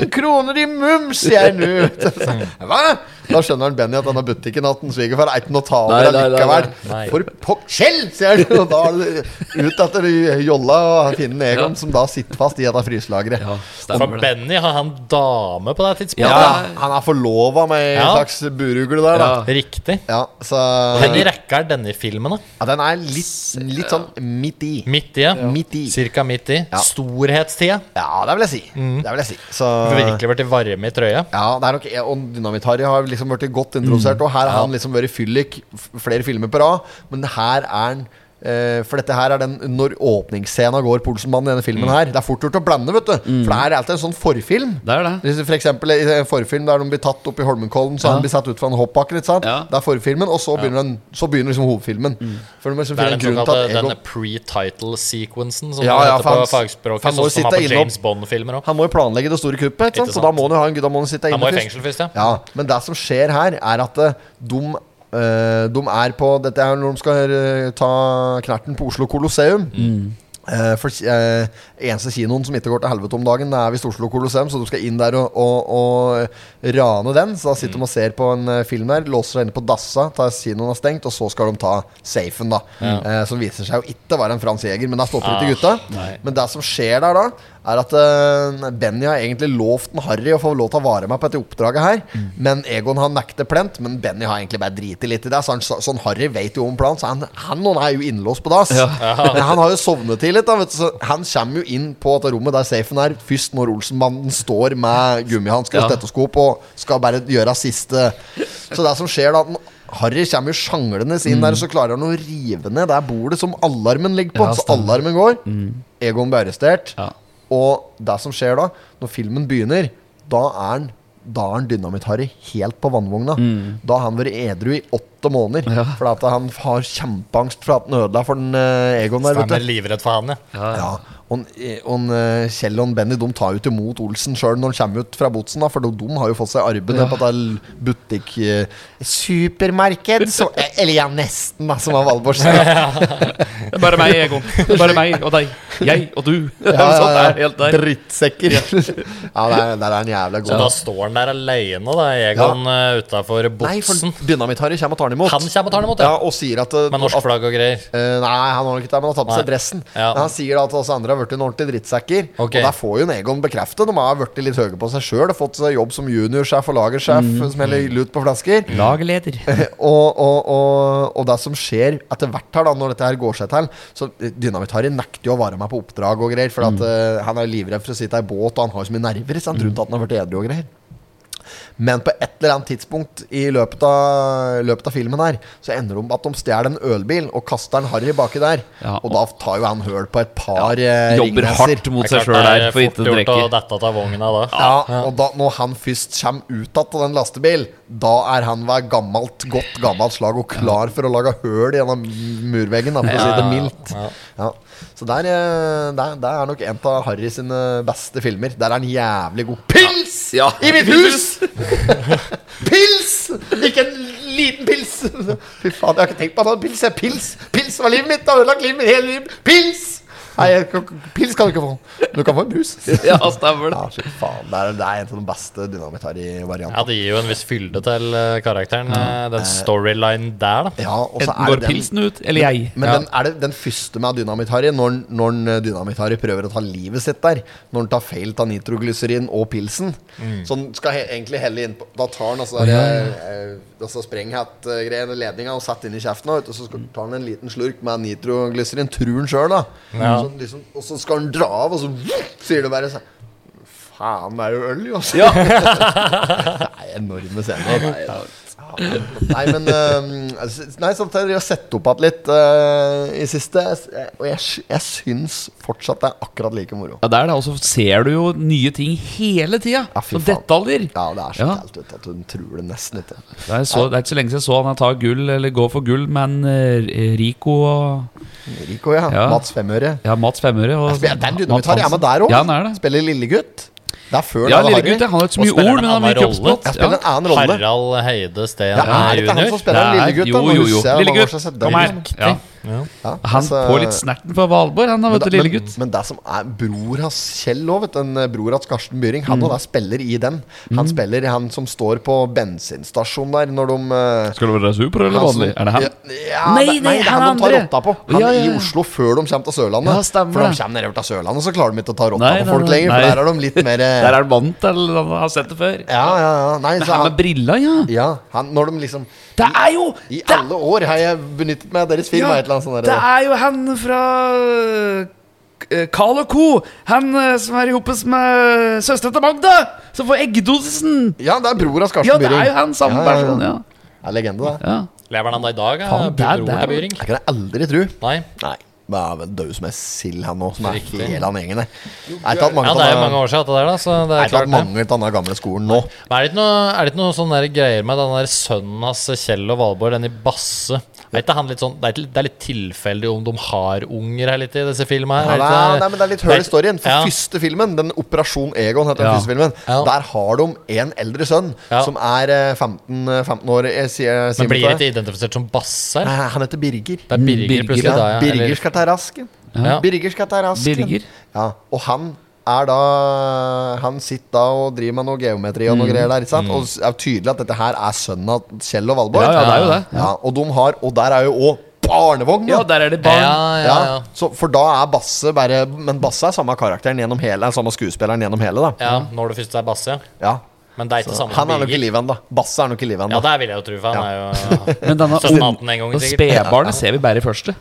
000 kroner i mums, jeg nå. Så- så- Hva? Da skjønner han Benny at denne butikken har hatt en svigerfar er ikke noe å ta Nei, over nei, nei, allikevel. nei. Nei. For pokker selv, sier han! Og da er det ut etter jolla og finne Egon, Ja. som da sitter fast i dette fryselageret. Ja, For stemmer det. Benny har han dame på det tidspunktet. Ja, han er forlova med en Ja. slags burugle der, da. Ja. Riktig. Ja, så Hvor i rekka er denne filmen, da? ja, Den er litt, litt sånn midt i. Midt i, ja. Midt i. Cirka midt i. Ja. Storhetstida. Ja, det vil jeg si. Det vil jeg si. Så Virkelig blitt varme i trøya. ja, det er nok, og Dynamitt-Harry har liksom blitt godt introdusert. Og her har han liksom vært fyllik f- flere filmer på rad. Men her er han eh, For dette her er den når åpningsscena går på Olsenbanen i denne filmen her. Det er fort gjort å blande, vet du. For det her er alltid en sånn forfilm. Det er det. Hvis For eksempel i en forfilm der de blir tatt opp i Holmenkollen, så Ja. han blir satt ut fra en hoppbakke. Ikke sant? Ja. Det er forfilmen, og så begynner, den, så begynner liksom hovedfilmen. For de må liksom Det er finne en den grunn til såkalte at Egon denne pre-title-sequensen, som Ja, det ja, heter for han på s- for fagspråket. han må Sånn som sitte er på innom- James Bond-filmer òg. Han må jo planlegge det store kuppet, ikke sant? så Ikke sant. da må han jo ha en gu- Da må han sitte Han må inne i først. fengsel først, ja. Ja, men det som skjer her, er at eh, de, eh, de er på Dette er når de skal eh, ta knerten på Oslo Colosseum. Eh, for eh, eneste kinoen som ikke går til helvete om dagen, det er visst Oslo Colosseum, så de skal inn der og, og, og rane den. Så da Mm. sitter de og ser på en eh, film der, låser seg inne på dassa, tar kinoen er stengt, og så skal de ta safen, da. Eh, som viser seg jo ikke å være en Frans Jæger, men der stopper Ah. ikke gutta. Men det som skjer der da, er at eh, Benny har egentlig lovt den Harry å få lov til å vare meg på dette oppdraget her. Mm. Men Egon har nekter plent, men Benny har egentlig bare driti litt i det. Så han, så, sånn Harry vet jo om planen, så han, han og han er jo innlåst på dass. Men han har jo sovnet til litt, da, vet du, så han kommer jo inn på dette rommet der safen er, først når Olsenbanden står med gummihansker og Ja. stetoskop og skal bare gjøre siste Så det som skjer da, at den Harry kommer jo sjanglende Mm. inn der, og så klarer han å rive ned der bordet som alarmen ligger på. Ja, så stemmer. alarmen går. Egon blir arrestert. Mm. Ja. Og det som skjer da, når filmen begynner, da er han da er han Dynamitt-Harry helt på vannvogna. Da har han vært edru i åtte måneder. Mm. Ja. Fordi at han har kjempeangst for at han ødela for den eh, Egon der. Han vet er du. livredd for han, ja. Ja, og, eh, og eh, Kjell og Benny de tar jo ikke imot Olsen sjøl når han kommer ut fra botsen, da, for de, de har jo fått seg arbeid på dette l- butikk... eh, Supermarked, som- eh, eller ja, nesten, da, som han Valborg [LAUGHS] sier. Det er bare meg, Egon. Det er bare meg og deg. Jeg og du. Ja, [LAUGHS] Sånn ja, ja. er helt der. Drittsekker. [LAUGHS] Ja, der, der er han jævla Så god. da står han der aleine, da, Egon ja. utafor Nei, for botsen. Dynamitt-Harry kommer og tar han imot. Han kommer og tar han imot, ja, ja. og sier at, eh, Med norsk at flagg og greier. Eh, nei, han har nok ikke det, men han har tatt på seg Nei. dressen. Ja. Men han sier da at oss andre har blitt en ordentlig drittsekker. Ok. Og der får jo en Egon bekrefte. De har blitt litt høye på seg sjøl. Fått seg jobb som juniorsjef og lagersjef, Mm. som heller lut på flasker. Lagleder. [LAUGHS] og, og, og, og det som skjer etter hvert her, da, når dette her går seg til Så Dynamitt-Harry nekter jo å vare meg på oppdrag og greier, for at, Mm. eh, han er jo livredd for å sitte i båt, og han har jo så mye nerver sant, rundt at han har vært edru og greier. Men på et eller annet tidspunkt i løpet av, løpet av filmen her, så ender det om at de stjeler en ølbil og kaster en Harry baki der. Ja, og, da tar jo han høl på et par eh, Jobber ringnesser. hardt mot Det er seg klart sjøl det der er for fort ikke å gjort å drikke. dette av vogna da. Ja, og da, når han først kommer ut igjen av den lastebil, da er han ved gammelt, godt gammelt slag og klar for å lage høl gjennom murveggen, da, for å si det mildt. Ja. Så der, eh, der, der er nok en av Harry sine beste filmer. Der er han jævlig god. Pils Ja. i mitt hus! [LAUGHS] Pils! Ikke en liten pils. Fy faen, jeg har ikke tenkt på at han hadde pils. jeg. Pils Pils var livet mitt. Det har ødelagt livet mitt hele livet. Pils! Nei, jeg kan- pils kan du ikke få. Du kan få en brus. Ja, stemmer det. Ja, fy faen. Det er, det er en av de beste dynamitt-variantene. Ja, det gir jo en viss fylde til eh, karakteren, eh, den storylinen der, da. Ja, og så Enten er går det den pilsen ut, eller jeg. Men Ja. den, er det den første med dynamitt-Harry, når, han- når han, dynamitt-Harry prøver å ta livet sitt der Når han tar feil av nitroglyserin og pilsen Så han skal he egentlig helle inn på Da tar han altså der, eh, altså sprenghatt-greiene, ledninga, og setter inn i kjeften. Og så skal- tar han en liten slurk med nitroglyserin, tror han sjøl, da. Så, han liksom, og så skal han dra av, og så [LAUGHS] sier det bare sånn Faen, det er jo øl, jo! altså. [LAUGHS] Det er enorme scener. Nei, men eh, altså, Nei, samtidig har jeg sett opp igjen litt eh, i siste. eh, Og jeg, sy- jeg syns fortsatt det er akkurat like moro. Ja, det er det. Og så ser du jo nye ting hele tida. Ja, fy Som faen. detaljer. Ja, det er så Ja. tælt ut at hun tror det nesten ikke. Det er, så, det er ikke så lenge siden jeg så han ta gull, eller gå for gull, men eh, Rico og Rico, ja. Ja. Mats Femøre. ja, Mats Femøre og Det er en dynamittar. Jeg er med der Ja, òg. han er det. Spiller lillegutt. Det er før Ja, det var lille Harry. gutt, ja. Han har ikke så Og mye spiller ord, men en han annen virker rolle. oppslått. Jeg spiller en annen rolle. Harald Heide Steen Det er ikke han junior. som spiller Det er- lillegutt. jo, jo, jo. Lillegutt, kom her. Ja. Han får litt snerten fra Valborg, han Altså- da, vet du, lille gutt. altså, Men, men det som er bror hans Kjell òg, vet du. en, eh, Bror hans Karsten Byring. Mm. Han og der spiller i den. Han spiller han som står på bensinstasjonen der når de eh, Skal det være super eller han som- vanlig? Er det han? Ja, ja, nei, nei, det er han de tar andre. rotta på. Han Ja, ja, i ja. Oslo før de kommer til Sørlandet. Ja, stemmer for de det. kommer nedover til Sørlandet, så klarer de ikke å ta rotta Nei, på nei, folk nei, lenger. nei. For der er de [LAUGHS] litt mer eh, Der er han vant til, eller han har sett det før. Ja, ja, ja. Nei, Det så her med han, briller, ja. ja, han, når de liksom Det er jo I det- alle år har jeg benyttet meg av deres film. Ja, Ja, et eller annet sånt der. Det er jo han fra eh, Carl Co. Han eh, som er sammen med søstera til Magda, som får eggdosisen. ja, det er bror hans Karsten Ja, det Byring. er jo han Ja, samme ja, ja. person, ja. Det er legende, det. ja. Lever han da i dag? eh, Faen, det er- bror det er- til Byring? Det kan jeg aldri tro. Nei. Nei. Det er vel død som ei sild, han nå, som er Riktig. hele han gjengen der. Det er ikke at mange Ja, av det er jo mange denne- år siden dette der, da. Så det det er er ikke klart at det. mange av denne gamle skolen nå. Men er det ikke noe, er det ikke noe sånne der greier med den der sønnen hans, Kjell og Valborg, den i Basse? Er ikke han litt sånn, det, er litt, det er litt tilfeldig om de har unger her litt i disse filmene Nei, her. er det ikke- nei, men Det er litt høl i storyen. For ja. første filmen, den Operasjon Egon, heter Ja. den første filmen Ja. der har de en eldre sønn Ja. som er eh, 15, eh, 15 år. Jeg sier, sier meg Men blir til ikke identifisert som Basse? deg. her? Nei, Han heter Birger. Det er Birger, Birger, plutselig. Ja, Da, ja, Birger eller- skal ta rasken. Ja. Birger skal ta rasken. Birger. Ja, og han er da Han sitter da og driver med noe geometri og noe greier der. Ikke sant? Og det er jo tydelig at dette her er sønnen av Kjell og Valborg. Ja, ja, det er jo det. Ja, og, de har, og der er jo òg barnevogn! ja, da. der er det barn. ja, ja, Ja, ja. Så, for da er Basse bare Men Basse er samme karakteren gjennom hele Samme skuespilleren gjennom hele, da. ja, når det først er Basse. ja. Ja. Men det er ikke det samme Han er som nok i Birger. livet ennå. Basse er nok i livet Ja, ennå. det vil jeg jo tro, for [LAUGHS] han er jo Men denne Så maten en gang, og sikkert. spedbarnet ser vi bare i første.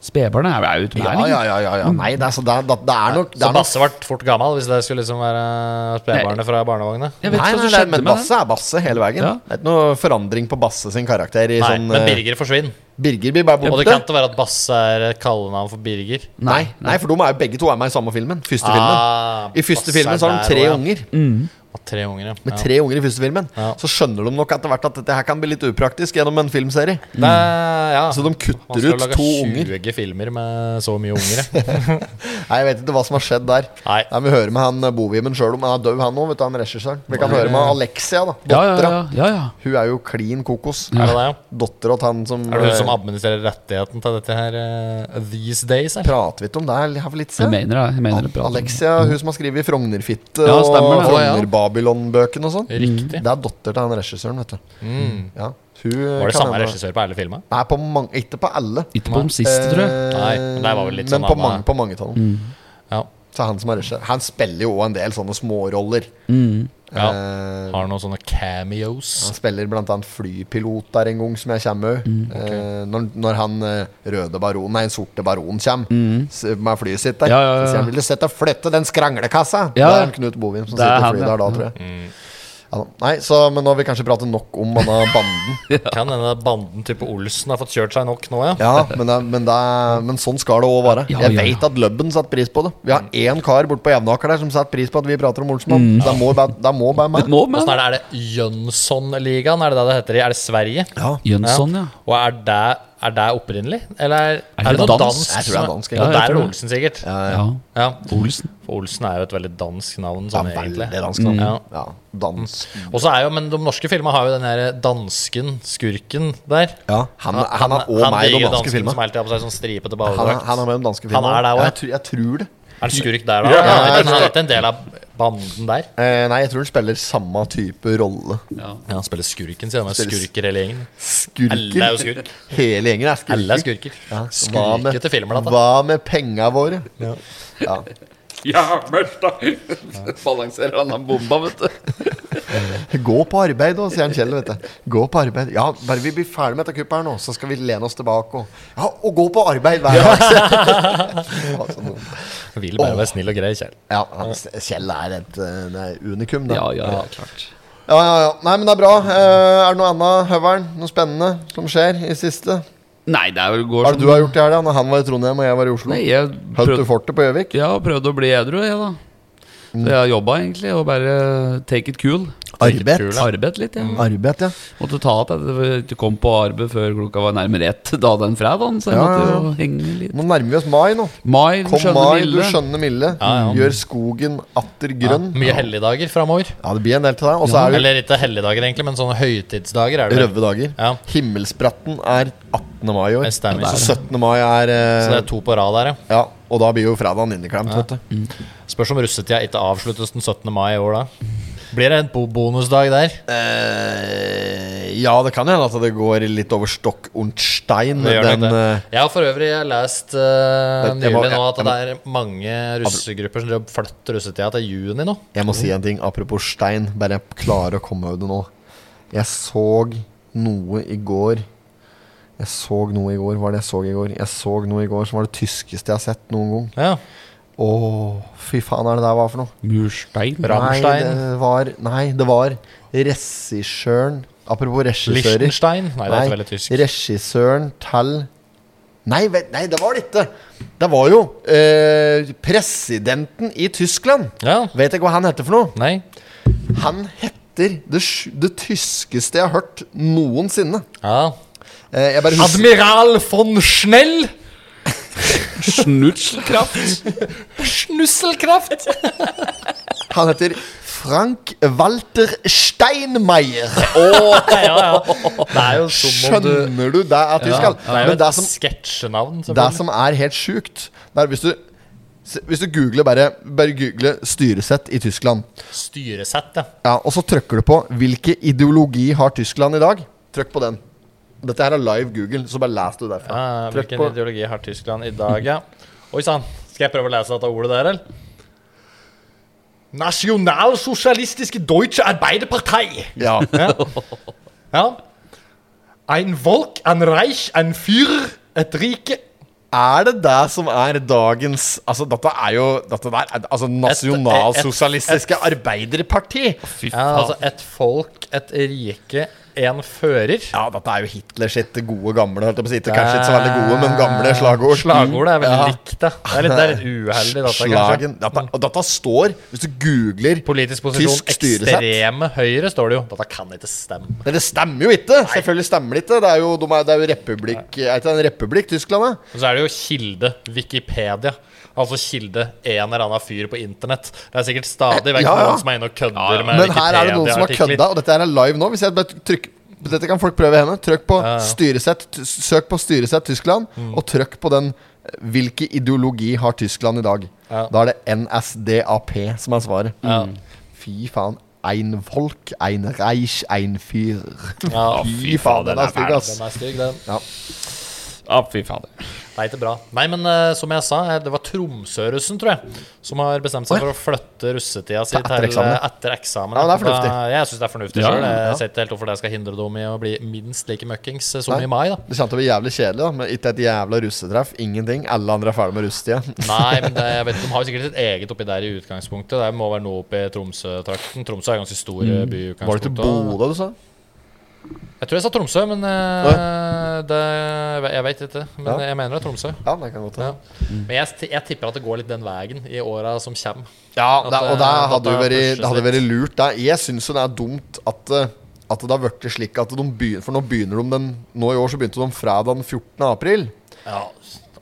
Spedbarnet er jo Ja, utenlanding. ja, ja, ja, ja. Nei, det er, så det er, det er nok, det Så er nok Basse ble fort gammel, hvis det skulle liksom være spedbarnet fra barnevogna. Nei, Jeg vet ikke hva nei, som nei, men skjedde med den. Basse er Basse hele veien. Ja. Det er ikke noe forandring på Basse sin karakter. I Nei, sånn, men eh, Birger forsvinner. Birger blir bare Og det kan borte. ikke være at Basse er et kallenavn for Birger. Nei, nei, for de er jo begge to er med i samme filmen. Første Ah, filmen. I første Basse filmen så har er de tre der også, ja. unger. Og tre unger, ja. Med tre unger i første filmen. Ja. Så skjønner de nok etter hvert at dette her kan bli litt upraktisk gjennom en filmserie. Det, er- ja. Så de kutter Man skal ut lage to unger. 20 filmer med så [LAUGHS] mye unger. ja. Nei, Jeg vet ikke hva som har skjedd der. Nei. Nei, Vi hører med han eh, Bovimen sjøl om han er død, han òg. Han regissøren. Vi kan høre med Alexia, da. Ja, Mm. ja, Dattera. ja, ja, ja. Hun er jo klin kokos. Er det det, ja? Dattera til han som Er det hun som eh, administrerer rettigheten til dette her eh, these days? Eller? Prater vi ikke om det her for litt Jeg siden? mener det. Jeg mener det bra. Alexia, hun som har skrevet Frognerfitte Ja, og stemmer det. Å, ja. Frogner-Babylon-bøkene og sånn. Riktig. Mm. Det er datter til han regissøren, vet du. Ja, hun Var det kan samme hende- regissør på alle filmene? Nei, på mange, ikke på alle. Ikke på de siste, tror jeg. Eh, Mm. Nei, men det var vel litt sånn men på han var- mange, på mange av dem. Ja. Så han som er regissør Han spiller jo òg en del sånne småroller. ja. Eh, Har noen sånne cameos. han spiller blant annet flypilot der en gang, som jeg kommer òg. Mm, Eh, når, når han eh, røde baron, nei, sorte baron kommer s- med flyet sitt der, Mm. Ja, ja, ja, så sier han ja. 'Vil du sette og flytte den skranglekassa?' Ja. Det er Knut Bovim som Det er sitter i han, flyet ja. der da, tror jeg. Ja, da. nei, så, men nå har vi kanskje pratet nok om denne [LAUGHS] banden. [LAUGHS] Kan hende banden type Olsen har fått kjørt seg nok nå, ja. Ja, men, det, men, det, men sånn skal det òg være. Ja, jeg ja, ja. vet at Løbben satte pris på det. Vi har én kar borte på Jevnaker der som setter pris på at vi prater om Olsenmann. Det må bare- Det må bare Mm. meg. Det må med. Åssen er det? Er det Jønsson-ligaen? Er det det det heter? i- Er det Sverige? Ja. Jønsson, ja. Og er det Er det opprinnelig? Eller er, Er er det det noe dans? dansk? Jeg tror det er som dansk, Ja, jeg det er tror det. Olsen, sikkert. Ja. Ja. Olsen. For Olsen er jo et veldig dansk navn. Det Sånn, er veldig egentlig. dansk navn. Ja. Ja, dans. Og så er jo, Men de norske filmer har jo den her dansken, skurken, der. Ja, han, han er òg han meg i de digre danske dansken filmene. Som alltid har på seg sånn stripete Han er, badedrakt. han er med i de danske Han filmene. er der også, jeg, tror, jeg tror det. Er han skurk der, da? Ja, Ja, jeg men han er ikke en del av banden der. Eh, nei, jeg tror han spiller samme type rolle. Ja, Han spiller skurken, sier han. Spiller- Skurker hele gjengen. Alle er jo Skurker. skurk. Hele gjengen er skurker. Alle er skurker. Ja, hva med- Skurkete filmer, dette. Hva med penga våre? Ja. Ja, mørta! [LAUGHS] Balanserer han den bomba, vet du. Gå på arbeid, da, sier han Kjell. vet du Gå på arbeid Ja, Bare vi blir ferdig med dette kuppet her nå, så skal vi lene oss tilbake og Ja, og gå på arbeid hver dag! [LAUGHS] Altså, nå- Vil bare være snill og grei, Kjell. ja, han- Kjell er et eh, det er unikum, det. Ja, ja, ja, klart. Ja, ja, ja. Nei, men det er bra. Eh, er det noe annet, Høveren? Noe spennende som skjer i siste? Nei, det er vel går Hva er det du har gjort i helga? Når han var i Trondheim og jeg var i Oslo? Nei, jeg Høtt du prøvde, fortet på Gjøvik? ja, prøvde å bli edru, jeg, da. Mm. Så jeg har jobba egentlig, og bare take it cool. Arbeid. Arbeid litt, ja. Arbeid, ja. Måtte ta at jeg ikke kom på arbeid før klokka var nærmere ett [LAUGHS] da den fredagen, så jeg Ja, måtte ja, jo henge litt. Nå nærmer vi oss mai nå. Mai, Kom skjønne mai, du milde. skjønne milde. Ja, ja. Gjør skogen atter Ja, grønn. mye helligdager framover. Ja, det blir en del til deg. Og så er det Eller ikke helligdager, egentlig, men sånne høytidsdager er det. vel. røvedager. Ja. Himmelspratten er 18. mai i år. Det stemmer. Så 17. mai er eh, Så det er to på rad der, ja. Ja, og da blir jo fredagen inneklemt, vet du. Spørs om russetida ikke avsluttes den 17. mai i år, da. Blir det en bo- bonusdag der? Eh, ja, det kan hende at det går litt over stokk und stein. Det gjør Den, det. eh, Jeg har for øvrig lest eh, Det- jeg må- nylig nå at jeg- det er mange russegrupper som driver og flytter russetida til juni nå. Jeg må si en ting apropos stein, bare jeg klarer å komme over det nå. Jeg så noe i går Jeg så noe i går, hva var det jeg så i går? Jeg så noe i går som var det tyskeste jeg har sett noen gang. Ja. Å, fy faen, er det der var for noe? Murstein. Rammstein. Nei, det var, nei, det var regissøren Apropos regissører. Liechtenstein? Nei, det er ikke veldig tysk. regissøren til Nei, vet, nei, det var det ikke! Det var jo eh, presidenten i Tyskland. Ja. Vet ikke hva han heter for noe. Nei. Han heter det, sj- det tyskeste jeg har hørt noensinne. Ja. Eh, jeg bare husker Admiral von Schnell! Snutselkraft. Snusselkraft! Han heter Frank Walter Steinmeier. ja, ja. Det er jo som om du Skjønner du det er ja, tysk? Det er jo Men det et som, sketsjenavn. det selvfølgelig. som er helt sjukt, det er hvis du s- hvis du googler bare, bare google 'styresett i Tyskland', Styresett, ja. ja, og så trykker du på 'hvilke ideologi har Tyskland i dag', trykk på den. Dette her er live Google, så bare les du derfra. Trykk Ja, Ah, Hvilken på- ideologi har Tyskland i dag, ja? Oi sann, skal jeg prøve å lese dette ordet der, eller? Nasjonalsosialistiske Deutsche Arbeiderpartei. Ja. Ja. Ein Volk, ein Reich, ein Führer, et rike. Er det det som er dagens Altså, dette er jo dette der, er- Altså, Nasjonalsosialistiske Arbeiderparti. Fy Ja, altså et folk, et rike, en fører. Ja, dette er jo Hitler sitt gode gamle holdt jeg på å si. Ikke Kanskje ikke så veldig gode, men gamle slagord. Eh, Slagordet er veldig Ja. likt, da. Det er litt, det er litt uheldig, dette, kanskje. Mm. Slagen dette, Og dette står, hvis du googler Politisk posisjon, Tysk styresett. ekstreme høyre, står det jo. Dette kan ikke stemme. Men Det stemmer jo ikke! Selvfølgelig stemmer det ikke. Det er jo, de er, det er jo republikk Er ikke det en republikk, Tyskland? da? Og så er det jo kilde Wikipedia. Altså kilde en eller annen fyr på internett. Det er sikkert stadig vekk Ja, ja. noen som er inne og kødder med Men her er det noen som har Wikipedia-artikler. kødda, og dette her er live nå. Hvis jeg bare trykker dette kan folk prøve henne. Trykk på styresett t- Søk på styresett Tyskland, og trykk på den eh, 'Hvilke ideologi har Tyskland i dag?' Ja. Da er det NSDAP som er svaret. Mm. Ja. Fy faen. Ein Volk, ein Reich, ein Fyr. Ja, Fy faen, den er stygg, ass. den er stygg, den. Ja, fy fader. Nei, ikke bra. Nei, men eh, som jeg sa, eh, det var Tromsø-russen, tror jeg, som har bestemt seg for å flytte russetida si Til til etter etter eksamen. eksamen. Etter eksamen. Ja, det er Da- fornuftig. Jeg syns det er fornuftig Ja, selv. ja. Jeg ser ikke helt hvorfor det skal hindre dem i å bli minst like møkkings eh, som Nei. i mai, da. Det kommer til å bli jævlig kjedelig, da. Men ikke et jævla russetreff. Ingenting. Alle andre er ferdig med [LAUGHS] russetida. Nei, men det, jeg vet, de har jo sikkert sitt eget oppi der i utgangspunktet. Det må være noe oppi Tromsø-trakten. Tromsø er en ganske stor eh, Mm. by. i Var det til utgangspunktet, og- Bodø du sa? Jeg tror jeg sa Tromsø, men eh, det, jeg veit ikke. Men Ja. jeg mener det er Tromsø. Ja, det kan godt Ja. hende. Men jeg, ti- jeg tipper at det går litt den veien i åra som kommer. Ja, At det, og det- det at hadde jo det vært, pushes det hadde litt. vært lurt. Det. Jeg syns jo det er dumt at eh, at det har vært slik at de begynner For nå begynner de den Nå i år så begynte de fra den 14. april. Ja,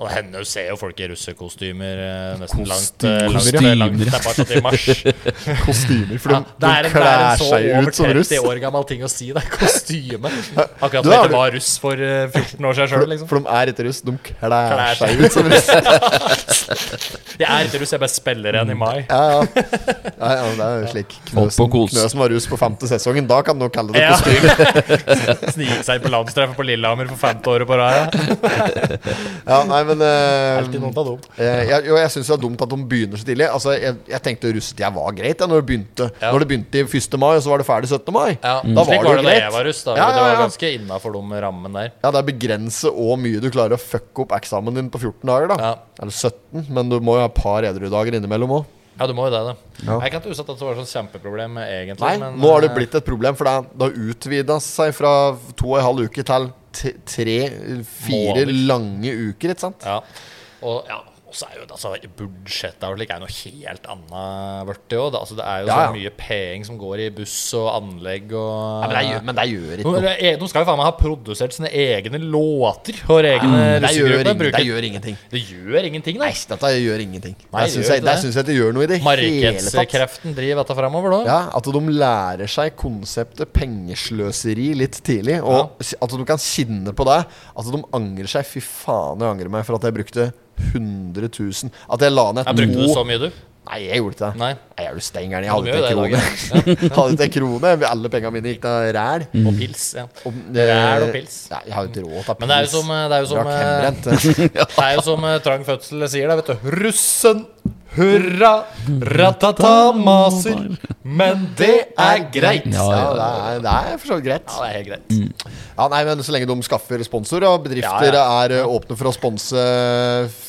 og henne ser jo folk i russekostymer eh, nesten langt, Kostymer, eh, kostymer. langt, langt det er bare sånn i mars. [LAUGHS] Kostymer. For Ja, de, det er de en, det er en klær så seg over ut som russ. 30 år gammel ting å si, det er [LAUGHS] kostyme. Akkurat Du som er det du- var russ for eh, 14 år siden sjøl, liksom. For de er ikke russ, de klær, Klær seg seg ut som [LAUGHS] russ. Jeg er ikke russ, jeg bare spiller en i mai. Ja, ja. ja, ja det er jo slik. Knøsen, på kos. Knøsen var russ på femte sesongen. Da kan du kalle det Ja. kostyme. [LAUGHS] Snike seg inn på landstreffet på Lillehammer for femte året på rad. ja. Ja, nei, men eh, Alltid noen av dem. Eh, jeg, jo, jeg syns det er dumt at de begynner så tidlig. Altså, jeg, jeg tenkte russetida var greit ja, når, det begynte. Ja. når det begynte i 1. mai, og så var det ferdig 17. mai. Ja, Da Slik var det jo var det da greit. jeg var russ. da Ja, ja, Det var ja. ganske innafor de rammene der. Ja, Det er begrenset hvor mye du klarer å fucke opp eksamen din på 14 dager. da Ja. Eller 17, men du må jo ha et par edrudager innimellom òg. Ja, du må jo det, da. Ja. Jeg kan ikke huske at det var et sånt kjempeproblem, egentlig. Nei, men, nå har det eh, blitt et problem, for det, er- det har utvida seg fra to og en halv uke til t- tre-fire Måneder. lange uker, ikke sant? Ja. Og ja, og så er jo det- altså, budsjettet og slik er noe helt annet blitt, jo. Det, altså, det er jo Ja, ja. så mye penger som går i buss og anlegg og Ja, men, det gjør, men det gjør ikke Nå- noe. de, de skal jo faen meg ha produsert sine egne låter for egne Ah, Det gjør, russegrupper. ingen- det bruker- gjør ingenting. Det gjør ingenting, nei. Nei, dette gjør ingenting. Nei, det det syns gjør jeg, ikke det det. syns jeg det gjør noe i det hele tatt. Markedskreften driver dette framover, da. Ja, At de lærer seg konseptet pengesløseri litt tidlig. Og s- at de kan kjenne på det. At de angrer seg. Fy faen, jeg angrer meg for at jeg brukte 100 000. At jeg la ned Jeg brukte det så mye, du. Nei, jeg gjorde ikke det. Nei. Nei, jeg er du steingeren. Jeg Ja, hadde de ikke en gjør krone. Jeg [LAUGHS] hadde ikke en krone. Alle pengene mine gikk til ræl. Og pils. ja Om- Ræl og pils. Ja, jeg har jo ikke råd til pils. Men det er jo som, det er jo som, Drakk eh, [LAUGHS] hjemmebrent. det er jo som eh, Trang Fødsel sier, det, vet du. Russen, hurra, ratata, maser. Men det er greit. Ja, Mm. det er, det er for så vidt greit. Ja, det er helt greit. Ja, nei, men Så lenge de skaffer sponsor, og bedrifter er eh, åpne for å sponse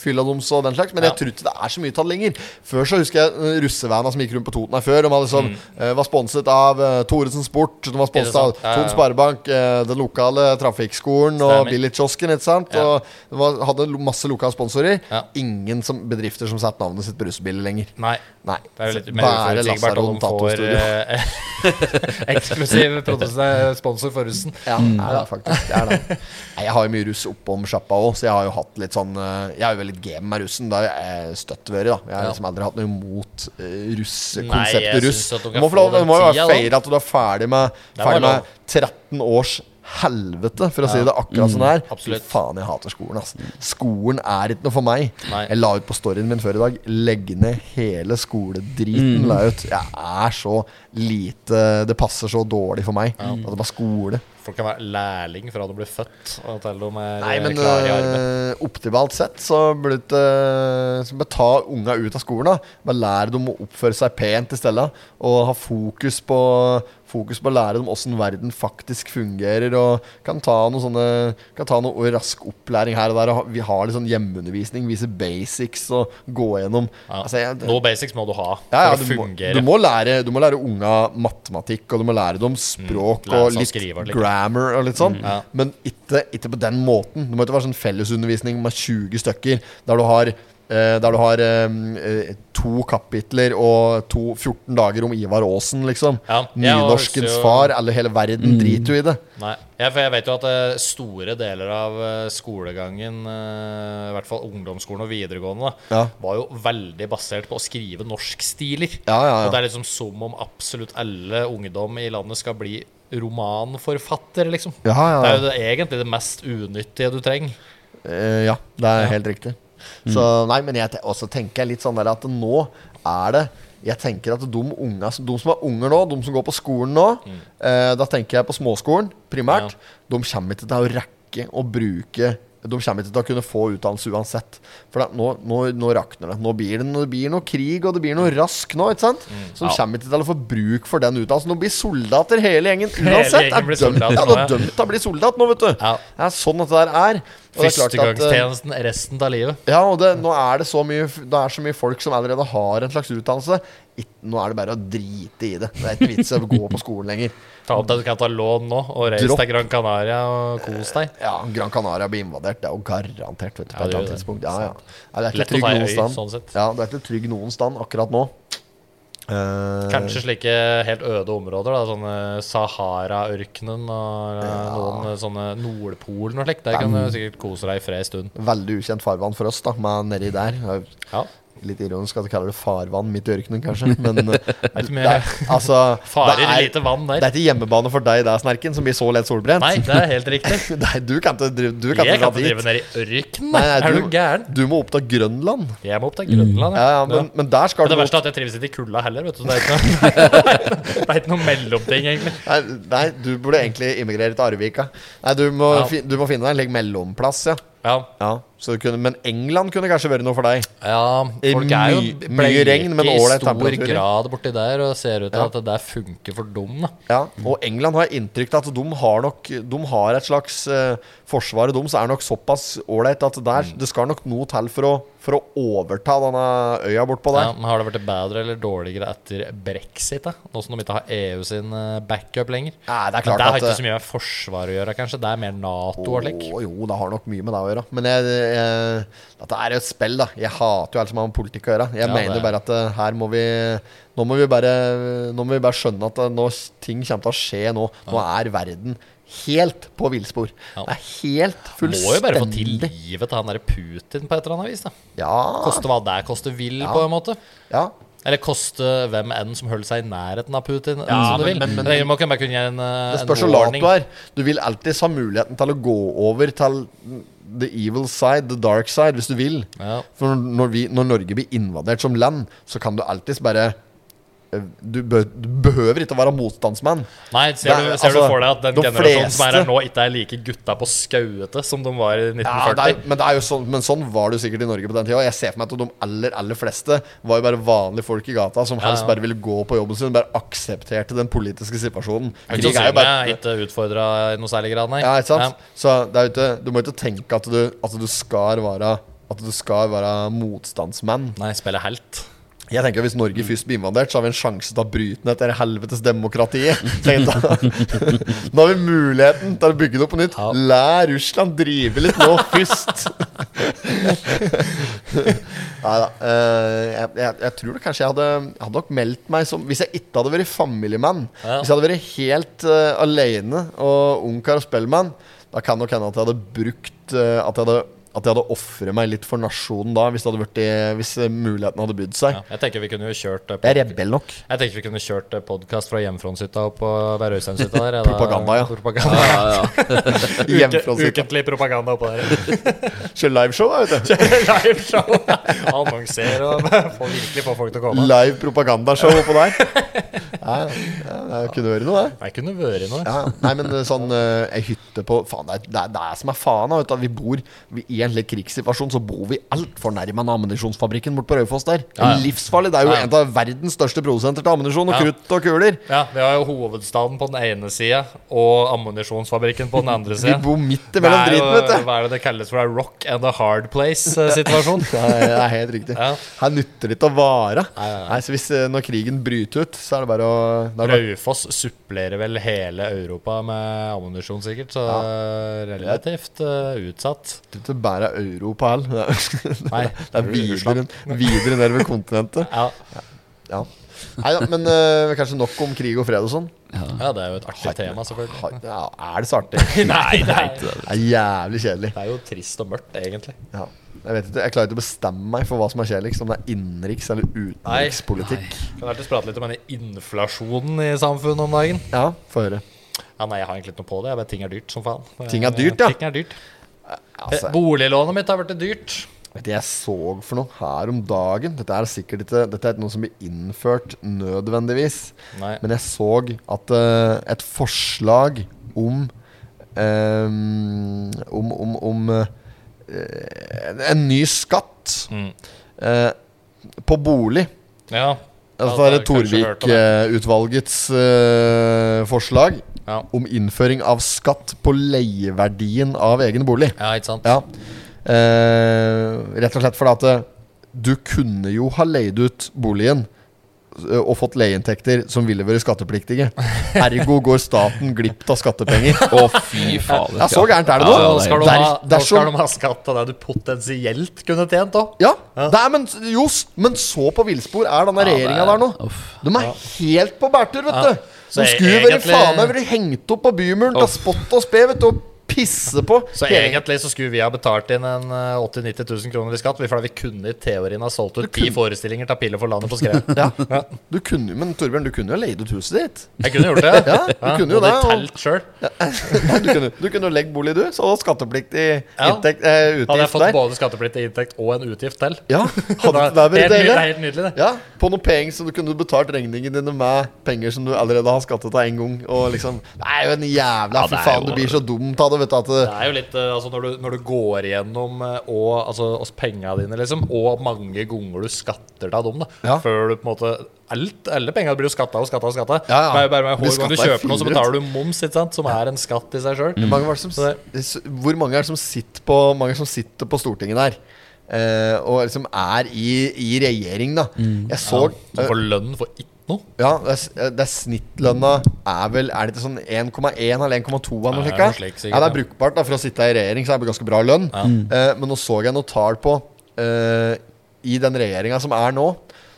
fylla deres og den slags. Men Ja. jeg tror ikke det er så mye tatt lenger. Før så husker jeg eh, russevana som gikk rundt på Toten her før. De hadde sånn, eh, var sponset av uh, Thoresen Sport, de var sponset av Mm. sant? Ja, ja, ja. Thon Sparebank, eh, den lokale trafikkskolen og Stemmer. Billigkiosken. ikke sant? Ja. Og de var, hadde lo- masse lokale sponsorer. Ja. Ingen som, bedrifter som satte navnet sitt på russebiler lenger. Nei. Nei. Det er jo litt Så mer bare uforutsigbart om Lasaron de får Tatostudio. eh, [LAUGHS] eksklusiv produsent- sponsor for russen. Ja, det er det faktisk. Det er det. [LAUGHS] Nei, jeg har jo mye russ oppom sjappa òg, så jeg har jo hatt litt sånn eh, Jeg er jo veldig game med russen. Det har jeg støtt vært, da. Jeg har Ja. liksom aldri hatt noe imot uh, Nei, jeg russekonseptet russ. synes at du Du kan må, få lov, få den du må jo tida, være da. feire at du er ferdig med, Det må ferdig være med 13 års helvete, for å si det akkurat sånn her. Mm. absolutt. Fy faen, jeg hater skolen, ass. Skolen er ikke noe for meg. Nei. Jeg la ut på storyen min før i dag. Legg ned hele Mm. skoledriten. La jeg ut. Jeg er så lite Det passer så dårlig for meg at det var skole. Folk kan være lærling fra du blir født og til de er Nei, men klare i armen. eh, optimalt sett så burde du ikke- så bare ta unga ut av skolen. da Bare lære dem å oppføre seg pent i stedet. Og ha fokus på Fokus på å lære dem åssen verden faktisk fungerer. Og kan ta noe sånne Kan ta noe rask opplæring her og der. Og ha- vi har litt sånn hjemmeundervisning, vise basics og gå gjennom. Ja. Altså, jeg, Noe basics må du ha ja, ja, for å du, må, fungere. du, må lære, du må lære unga matematikk, og du må lære dem språk Mm, lære og seg å litt skrive og litt. Mm. grammar og litt sånn. ja. Men ikke, ikke på den måten. Det må ikke være sånn fellesundervisning med 20 stykker der du har eh, der du har eh, eh, to kapitler og to, 14 dager om Ivar Aasen, liksom. Ja, jeg har Nynorskens også- far, eller hele verden driter jo i det. Nei, ja, for jeg vet jo at eh, store deler av eh, skolegangen, eh, i hvert fall ungdomsskolen og videregående, da, Ja. var jo veldig basert på å skrive norskstiler. Ja, ja, Og det ja. er liksom som om absolutt alle ungdom i landet skal bli romanforfatter, liksom. Ja, ja, Det ja. er jo det, egentlig det mest unyttige du trenger. Eh, ja, det er helt riktig. Mm. Så nei, men jeg te også tenker jeg litt sånn der at nå er det Jeg tenker at de, unga, som- de som er unger nå, de som går på skolen nå, Mm. eh, da tenker jeg på småskolen primært, de kommer ikke til å rekke å bruke de kommer ikke til å kunne få utdannelse uansett. For det, nå, nå, nå rakner det. Nå blir det, nå blir det noe krig, og det blir noe rask nå. ikke sant? Mm. Så de Ja. kommer ikke til å få bruk for den utdannelsen. De blir soldater, hele gjengen. Hele Uansett. gjengen blir er dømt, soldater ja, nå, de ja. er dømt til å bli soldat nå, vet du. Ja. Det er sånn at det der er. Og det er klart at, eh, Førstegangstjenesten resten av livet. ja, og det, nå er det så mye Det er så mye folk som allerede har en slags utdannelse. Ikke- Nå er det bare å drite i det. Det er ikke vits i å gå på skolen lenger. Ta opp det du kan ta lån nå, og reis Dropp. til Gran Canaria og kos deg. Ja, Gran Canaria blir invadert. Det er jo garantert. Vet du, på Ja, et eller det gjør annet det. tidspunkt ja, ja. Ja, Det er Lett ikke å trygg ta i noen øy, stand. sånn sett. Ja, det er ikke trygg noen stand akkurat nå. Eh, Kanskje slike helt øde områder, da, sånne Sahara-ørkenen og eh, noen eh, sånne Nordpolen og slikt. Der kan du sikkert kose deg i fred en stund. Veldig ukjent farvann for oss, da, men nedi der er jo Ja. Litt ironisk at du kaller det farvann midt i ørkenen, kanskje, [LAUGHS] men eh, ikke det mye- er, altså, Farer det i er- lite vann Det er der. ikke hjemmebane for deg der, Snerken, som blir så lett solbrent. Nei, det er helt riktig. [LAUGHS] Nei, du kan ikke drive du kan Jeg ikke kan dra dit. ikke drive ned i ørkenen. Nei, nei, er du gæren? Du må opp til Grønland. Jeg må opp til Grønland. Ja, ja, men, men der skal Men du det verste opp er at jeg trives ikke i kulda heller. vet du så Det er ikke noe, [LAUGHS] det er ikke noe mellomting, egentlig. nei, nei, du burde egentlig immigrere til Arvika. Nei, du må, Ja. fi, du må finne deg en slik mellomplass, ja. Ja, ja så du kunne, men England kunne kanskje vært noe for deg. ja I Folk er jo my- mye bleike regn, men i ålreit stor temperaturer. grad borti der og ser ut til Ja. at det der funker for dem. da. Ja, Og England har jeg inntrykk av at de har nok De har et slags eh, Forsvaret deres er nok såpass ålreit at Mm. der, det skal nok noe til for å, for å overta denne øya bortpå Ja, der. men har det blitt bedre eller dårligere etter brexit? da? Nå som de ikke har EU sin eh, backup lenger. Nei, det er Men klart det har at eh, ikke så mye med forsvar å gjøre, kanskje. Det er mer Nato og slik. Å, jo, det har nok mye med det å gjøre. Men jeg, jeg, dette er jo et spill, da. Jeg hater jo alt som har med politikk å gjøre. Jeg Ja, mener det er- bare at eh, her må vi Nå må vi bare, nå må vi bare skjønne at eh, nå, s- ting kommer til å skje nå. Nå er verden helt på villspor. Ja. Det er helt fullstendig Må jo bare få til livet til han der Putin på et eller annet vis. da Ja. Koste hva det koste vil, på en måte. ja. Eller koste hvem enn som holder seg i nærheten av Putin, Ja, som du men- vil. men- Men, det må ikke bare kunne gi en, eh, Det en spørs hvor lat warning. du er. Du vil alltids ha muligheten til å gå over til the evil side, the dark side, hvis du vil. Ja. For når, vi, når Norge blir invadert som land, så kan du alltids bare eh, du, bø, du behøver ikke å være motstandsmann. Nei, ser, Det er- du, ser altså, du for deg at den de generasjonen som er fleste- her nå, ikke er like gutta på skauete som de var i Ja, det 1940? er, men, det er jo sånn, men sånn var det jo sikkert i Norge på den tida. Jeg ser for meg at de aller aller fleste var jo bare vanlige folk i gata som helst ja. bare ville gå på jobben sin. Bare aksepterte den politiske situasjonen. Jeg Krig tror er jo Syria bare er ikke utfordra i noe særlig grad, nei. Ja, ikke sant? Ja. Så det er jo ikke, du må ikke tenke at du, at du skal være At du skal være motstandsmann. Nei, spiller helt. Jeg tenker at Hvis Norge først blir invadert, så har vi en sjanse til å bryte ned dette helvetes demokratiet. [LAUGHS] Tenk Da Da har vi muligheten til å bygge det opp på nytt. Ja. La Russland drive litt nå først. [LAUGHS] Nei da. eh, jeg, jeg, jeg tror det kanskje jeg hadde, jeg hadde nok meldt meg som Hvis jeg ikke hadde vært familiemann, Ja. hvis jeg hadde vært helt eh, alene og ungkar og spellemann, da kan nok hende at jeg hadde brukt eh, At jeg hadde, at jeg hadde ofret meg litt for nasjonen da, hvis, det hadde vært i, hvis eh, muligheten hadde bydd seg. Ja. Jeg tenker vi kunne jo kjørt eh, Jeg er pod- rebell nok. jeg tenker vi kunne kjørt podkast fra hjemmefrontshytta opp på Værøysundhytta der. ja, da- Propaganda, ja. Propaganda. Ja, ja. Hjemme fra [LAUGHS] Uke, ukentlig propaganda oppå der. [LAUGHS] Kjøre liveshow, da, vet du. Liveshow. Annonser og [LAUGHS] får virkelig få folk til å komme. Live propagandashow oppå [LAUGHS] der. Ja, ja, det kunne vært noe, det. Jeg kunne vært i noe. Ja, nei, men sånn eh, Ei hytte på Faen, det er det, er, det er som er faen. da, Vet du, at vi bor vi, I en slik krigssituasjon så bor vi altfor nærme en ammunisjonsfabrikken borte på Raufoss der. Ja, ja. Livsfarlig. Det er jo Ja. en av verdens største produsenter til ammunisjon og Ja. krutt og kuler. Ja, vi har jo hovedstaden på den ene sida og ammunisjonsfabrikken på den andre Vi sida. bor midt imellom driten, vet du. Hva er det det kalles for? A rock and a hard eh, [LAUGHS] place-situasjon? Det er, det er helt riktig. Ja. Her nytter det ikke å vare. Nei, nei, nei. Nei, så hvis, eh, når krigen bryter ut, så er det bare å da er det bare- Raufoss supplerer vel hele Europa med ammunisjon, sikkert, så relativt eh, utsatt. Det bærer Europa [LAUGHS] heller. Nei, Det er videre, videre ned ved kontinentet. Ja. Ja. Nei da, men eh, kanskje nok om krig og fred og sånn. ja, det er jo et artig tema, selvfølgelig. Ha- Ja, er det så artig? Det [LAUGHS] Nei, det er, er jævlig kjedelig. det er jo trist og mørkt, egentlig. Ja. Jeg vet ikke, jeg klarer ikke å bestemme meg for hva som er kjedeligst. Om det er innenriks- eller Nei. utenrikspolitikk. Kan alltids prate litt om denne inflasjonen i samfunnet om dagen. Ja, få høre. Ja, nei, jeg har egentlig ikke noe på det. Jeg vet ting er dyrt som faen. Ting er dyrt, ja. Ting er dyrt. Eh, Altså, Boliglånet mitt har blitt dyrt. vet du, jeg så for noe her om dagen Dette er sikkert ikke Dette er ikke noe som blir innført nødvendigvis. Nei. Men jeg så at eh, et forslag om eh, Om, om, om eh, en- en ny skatt Mm. eh, på bolig. Ja. Altså det er kanskje hørt om det. Torvik-utvalgets eh, forslag Ja. om innføring av skatt på leieverdien av egen bolig. ja, ikke sant. Ja. Eh, rett og slett fordi at eh, du kunne jo ha leid ut boligen ø, og fått leieinntekter som ville vært [LAUGHS] skattepliktige. Ergo går staten glipp av skattepenger. Å, fy fader. Ja, så gærent er det Ja, nå! Nå skal, de ha, Der- nå dersom- skal de ha skatt av det du potensielt kunne tjent òg. Ja, det er, men jo, s- men så på villspor er denne regjeringa der nå. Uff. De er helt på bærtur, vet du. Så De e- skulle vært egentlig- faen meg vært hengt opp på bymuren til spott og spe, vet du, og pisse på. Så hele- egentlig så skulle vi ha betalt inn en eh, 80 000-90 000 kroner i skatt, fordi vi kunne i teorien ha solgt ut ti forestillinger til Pille for landet på skred. ja. Du kunne, men Torbjørn, du kunne jo ha leid ut huset ditt. Jeg kunne gjort det. Ja, du kunne jo og de det, og- telt selv. Nei, du kunne, du kunne jo legge bolig, du. Så skattepliktig Ja. inntekt, eh, Hadde jeg utgift fått der. både skattepliktig inntekt og en utgift til. Ja, hadde [LAUGHS] Det det vært er helt, ny- det deilig? er helt nydelig, det. Ja, på noen penger så du kunne betalt regningene dine med penger som du allerede har skattet av en gang. Og liksom, Det er jo en jævla Fy det er faen, jo- du blir så dumt av det, vet du. At det, Det er jo litt eh, Altså, når du, når du går igjennom eh, og altså oss penga dine, liksom, og mange ganger du skatter av dem, da, Ja. før du på en måte Alt, alle penga blir jo skatta og skatta og skatta. Ja, ja. Men bare med Blir hver gang du skattet i kjøper noe, så fire betaler du moms, ikke sant, som er en skatt i seg sjøl. mange var det som, Så s- hvor mange er det som sitter på, mange som sitter på Stortinget der? eh, og liksom er i, i regjering, da. Jeg så Mm. eh, Du får lønn for ikke noe. Ja, det er, s- det er snittlønna er vel Er det ikke sånn 1,1 eller 1,2 eller noe slikt? Ja, det er noe da? slik, sikkert, Ja, det er ja. brukbart da for å sitte i regjering, så er det ganske bra lønn. Eh, men nå så jeg noen tall på eh, I den regjeringa som er nå,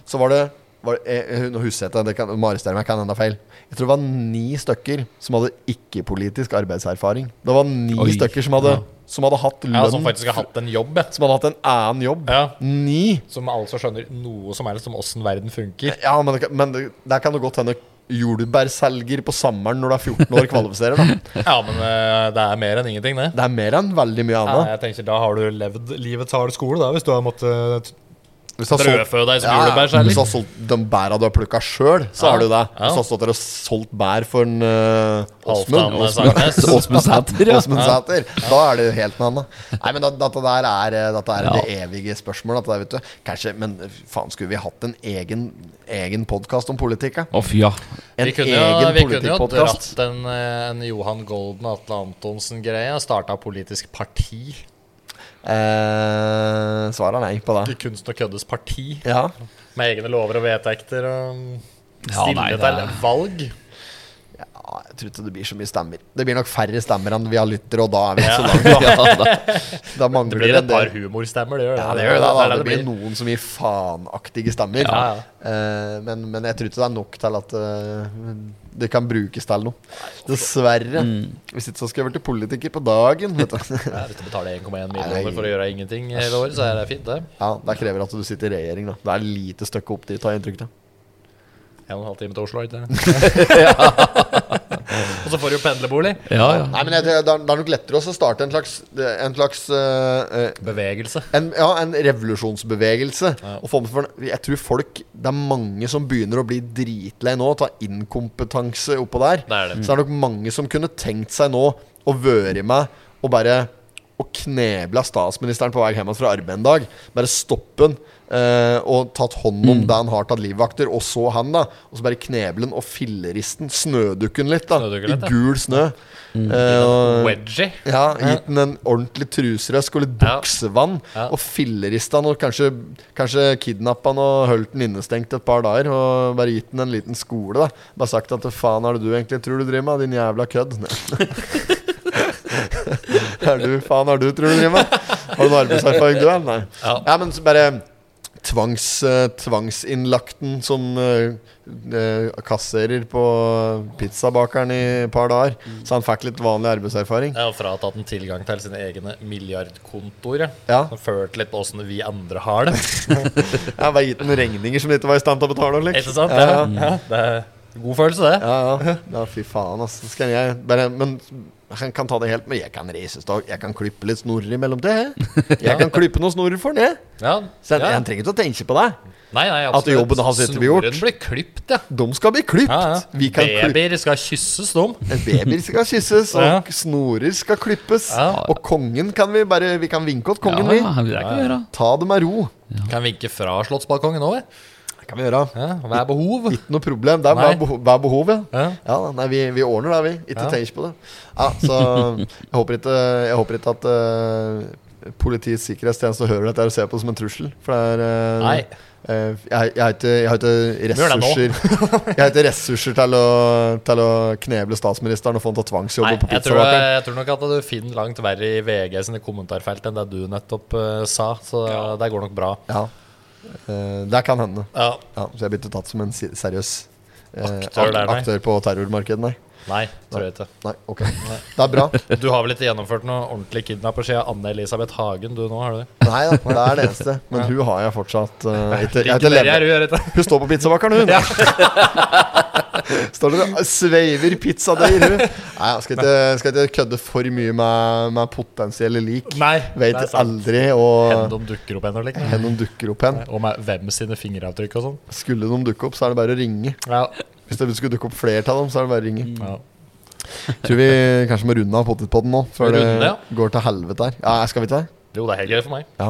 så var det, var det eh, eh, Nå husker jeg ikke, det kan- Mari Sterme kan enda feil. Jeg tror det var ni stykker som hadde ikke-politisk arbeidserfaring. Det var ni Oi. stykker som hadde, som hadde hatt lønn Ja, som faktisk har hatt en jobb, ja. som hadde hatt en annen jobb. Ja. Ni! Som altså skjønner noe som helst om åssen verden funker. Ja, men, det, kan- men det, der kan det godt hende jordbærselger på sommeren når du er 14 år, kvalifiserer. da Ja, men eh, det er mer enn ingenting, det. Det er mer enn veldig mye Ja, annet. jeg tenker, Da har du levd livets harde skole, da, hvis du har måttet eh, Hvis du har solgt, brødfø deg som ja, ja, hvis du jordbærselger. har solgt de bæra du har plukka sjøl, så Ja, har du det. ja. Hvis du har stått der og solgt bær for en eh, Halvdan Åsmund Sagnes. Åsmund Sæter, ja. Åsmund Sæter, da er det jo helt noe annet. Nei, men da- dette der er, eh, dette er det evige spørsmålet. Dette der, vet du. Kanskje, men faen, skulle vi hatt en egen, egen podkast om politikk? ja? Å, fy, ja. En Vi kunne, jo, vi kunne jo politikkpodcast. dratt en, eh, en Johan Golden og Atle Antonsen-greie. Starta politisk parti. Eh, svaret er nei på det. Kunst og køddes parti. Ja. Med egne lover og vedtekter. Og mm, Ja, stille nei, det til er- valg. Ja, Ah, jeg tror ikke det blir så mye stemmer. Det blir nok færre stemmer enn vi har lyttere, og da er vi ikke så langt. [LAUGHS] ja da. Da mangler Det blir en et par del. humorstemmer, det gjør Ja, det gjør det. er Da. Det blir blir. noen som gir faenaktige stemmer. Ja, ja. Eh, men, men jeg tror ikke det er nok til at eh, det kan brukes til noe. Dessverre. Hvis ikke så skal jeg bli politiker på dagen. Vet du. [LAUGHS] Ja, Hvis du betaler 1,1 Nei. millioner for å gjøre ingenting hele året, så er det fint, det. Ja, Det krever at du sitter i regjering. da Det er lite stykke opp dit, har jeg inntrykk av. En og en halv time til Oslo, ikke det? [LAUGHS] og så får du jo pendlerbolig. Ja, ja. Nei, men jeg, tror det, er, det er nok lettere også å starte en slags, en slags eh, eh, Bevegelse. En, ja, en revolusjonsbevegelse. Og for, for, jeg tror folk Det er mange som begynner å bli dritlei nå. Ta inkompetanse oppå der. Det er det. Så det er nok mange som kunne tenkt seg nå å være med og bare Å kneble statsministeren på vei hjem fra arbeid en dag. Bare stoppe han eh, og tatt hånd Mm. om det han har tatt livvakter, og så han, da. Og så bare kneble han og filleristen. Snødukken litt, da. Snødukken I litt, ja. Mm. gul snø. Eh, og- Wedgie. ja, gitt den en ordentlig truserøsk eller buksevann, Ja. og fillerista han og kanskje, kanskje kidnappa han og holdt den innestengt et par dager, og bare gitt den en liten skole, da. Bare sagt at 'hva faen er det du egentlig tror du driver med, din jævla kødd'? [LAUGHS] er du faen er du tror du driver med? Har du noe arbeidserfaring, du, eller? Nei. Ja. ja, men så bare tvangs, eh, tvangsinnlagten som eh, eh, kasserer på pizzabakeren i et par dager. Mm. Så han fikk litt vanlig arbeidserfaring. Jeg har fratatt en tilgang til sine egne milliardkontor. Ja. Som førte litt på åssen vi andre har [LAUGHS] det. Jeg bare gitt den regninger som de ikke var i stand til å betale. Liksom. Ikke sant? Ja, ja. Ja, det er god følelse, det. Ja, ja. ja, fy faen, ass. Skal jeg bare, men han kan ta det helt, men jeg kan reisestag. Jeg kan klippe litt snorer imellom det. Jeg kan klippe noen snorer for den, jeg. Ja. Så jeg, ja. jeg trenger ikke å tenke på det. Nei, nei, At jobben hans ikke blir gjort. Snoren blir klipt, ja. De skal bli klipt. ja, ja. Vi kan klippe. Babyer skal kysses, dom. Babyer skal kysses, og Ja. snorer skal klippes. Ja. Og kongen kan vi bare Vi kan vinke åt kongen, ja, ja. Det kan vi gjøre. vi. Ta det med ro. Kan vinke fra slottsbalkongen òg, Det kan vi gjøre. ja. Hva er behov? Ikke noe problem. Det er Nei. hver behov, hver behov ja. Ja. Ja, da, nei, vi, vi ordner det, vi. Ikke Ja. tenk på det. Ja, så [LAUGHS] jeg håper ikke, jeg håper ikke at eh, Politiets sikkerhetstjeneste hører dette her og ser på det som en trussel. For det er eh, Nei. Eh, jeg, jeg, har ikke, jeg har ikke Gjør det nå. ressurser Jeg har ikke ressurser til å, til å kneble statsministeren og få han til å tvangsjobbe Nei, på jeg tror, eh, pizzabakeren. jeg tror nok at du finner langt verre i VG sine kommentarfelt enn det du nettopp eh, sa, så det går nok bra. Ja. Eh, det kan hende. Ja, Ja, så jeg blir ikke tatt som en si- seriøs eh, Aktør der, ak- nei. aktør på terrormarkedet, nei. Nei, tror jeg ikke. Nei, ok. Det er bra. Du har vel ikke gjennomført noe ordentlig kidnapper siden Anne-Elisabeth Hagen, du nå, har du det? Nei da, det er det eneste. Men hun har jeg fortsatt eh, ikke, jeg har ikke Gratulerer, levd. du gjør ikke det? Hun står på pizzabakeren, hun! [LAUGHS] Står der og sveiver pizzadeig, [LAUGHS] hun. Nei, jeg skal ikke, skal ikke kødde for mye med, med potensielle lik. Nei, Vet det er sant. aldri og Hvem de dukker opp ennå, liksom. hen de dukker opp hen. Og med hvem sine fingeravtrykk og sånn. Skulle de dukke opp, så er det bare å ringe. Ja. Hvis det skulle dukke opp flere av dem, så er det bare å ringe. ja. Tror vi kanskje må runde av potetpodden nå, før det Runde, ja. går til helvete her. Ja, skal vi ikke det? Jo, det er helt greit for meg. Ja.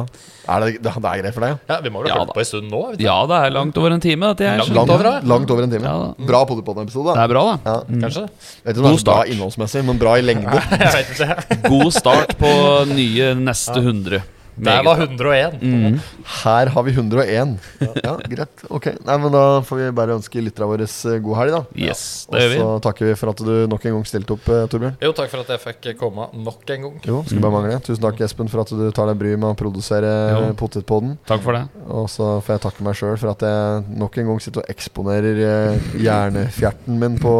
Er det, det er greit for deg, ja? Ja, Vi må vel Ja, ha da. holdt på en stund nå? vet du. Ja, det er langt over en time, dette her. Langt så- Langt, over, ja. langt over en time. Ja, da. bra potetpodden-episode. Det er Mm. bra, da. Ja. [LAUGHS] Kanskje? Vet ikke om det God er så bra start. innholdsmessig, men bra i [LAUGHS] lengde. Mm. Jeg vet ikke. God start på nye neste 100. Det Meget var bra. Mm. 101. Her har vi 101. Ja, greit. Ok, Nei, men Da får vi bare ønske lytterne våre eh, god helg, da. Yes, Og det gjør vi. så takker vi for at du nok en gang stilte opp, eh, Torbjørn. Jo, takk for at jeg fikk komme nok en gang. Jo, skulle bare mangle. Tusen takk, Espen, for at du tar deg bryet med å produsere Mm. eh, Jo. potetpodden. Takk for det. Og så får jeg takke meg sjøl for at jeg nok en gang sitter og eksponerer eh, hjernefjerten min på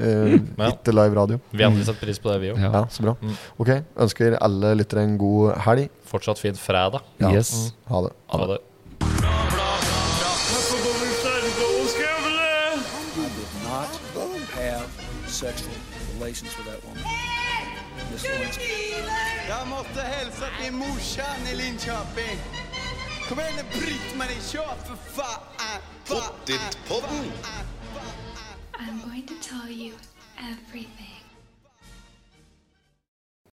eh, Mm. Ja. Ikke live radio. Vi andre setter pris på det, vi òg. Ja, så bra. Mm. Ok, ønsker alle lyttere en god helg. Fortsatt fin fredag. Ja. Yes. Ha det. Ha det. Ha det. I did not have sexual relations with that woman. Miss Lewinsky. Jag måste hälsa till morsan i Linköping. Kom igen nu Britt-Marie, kör för fan! Fa- Pottit-podden. fa- fa- fa- I'm going to tell you everything.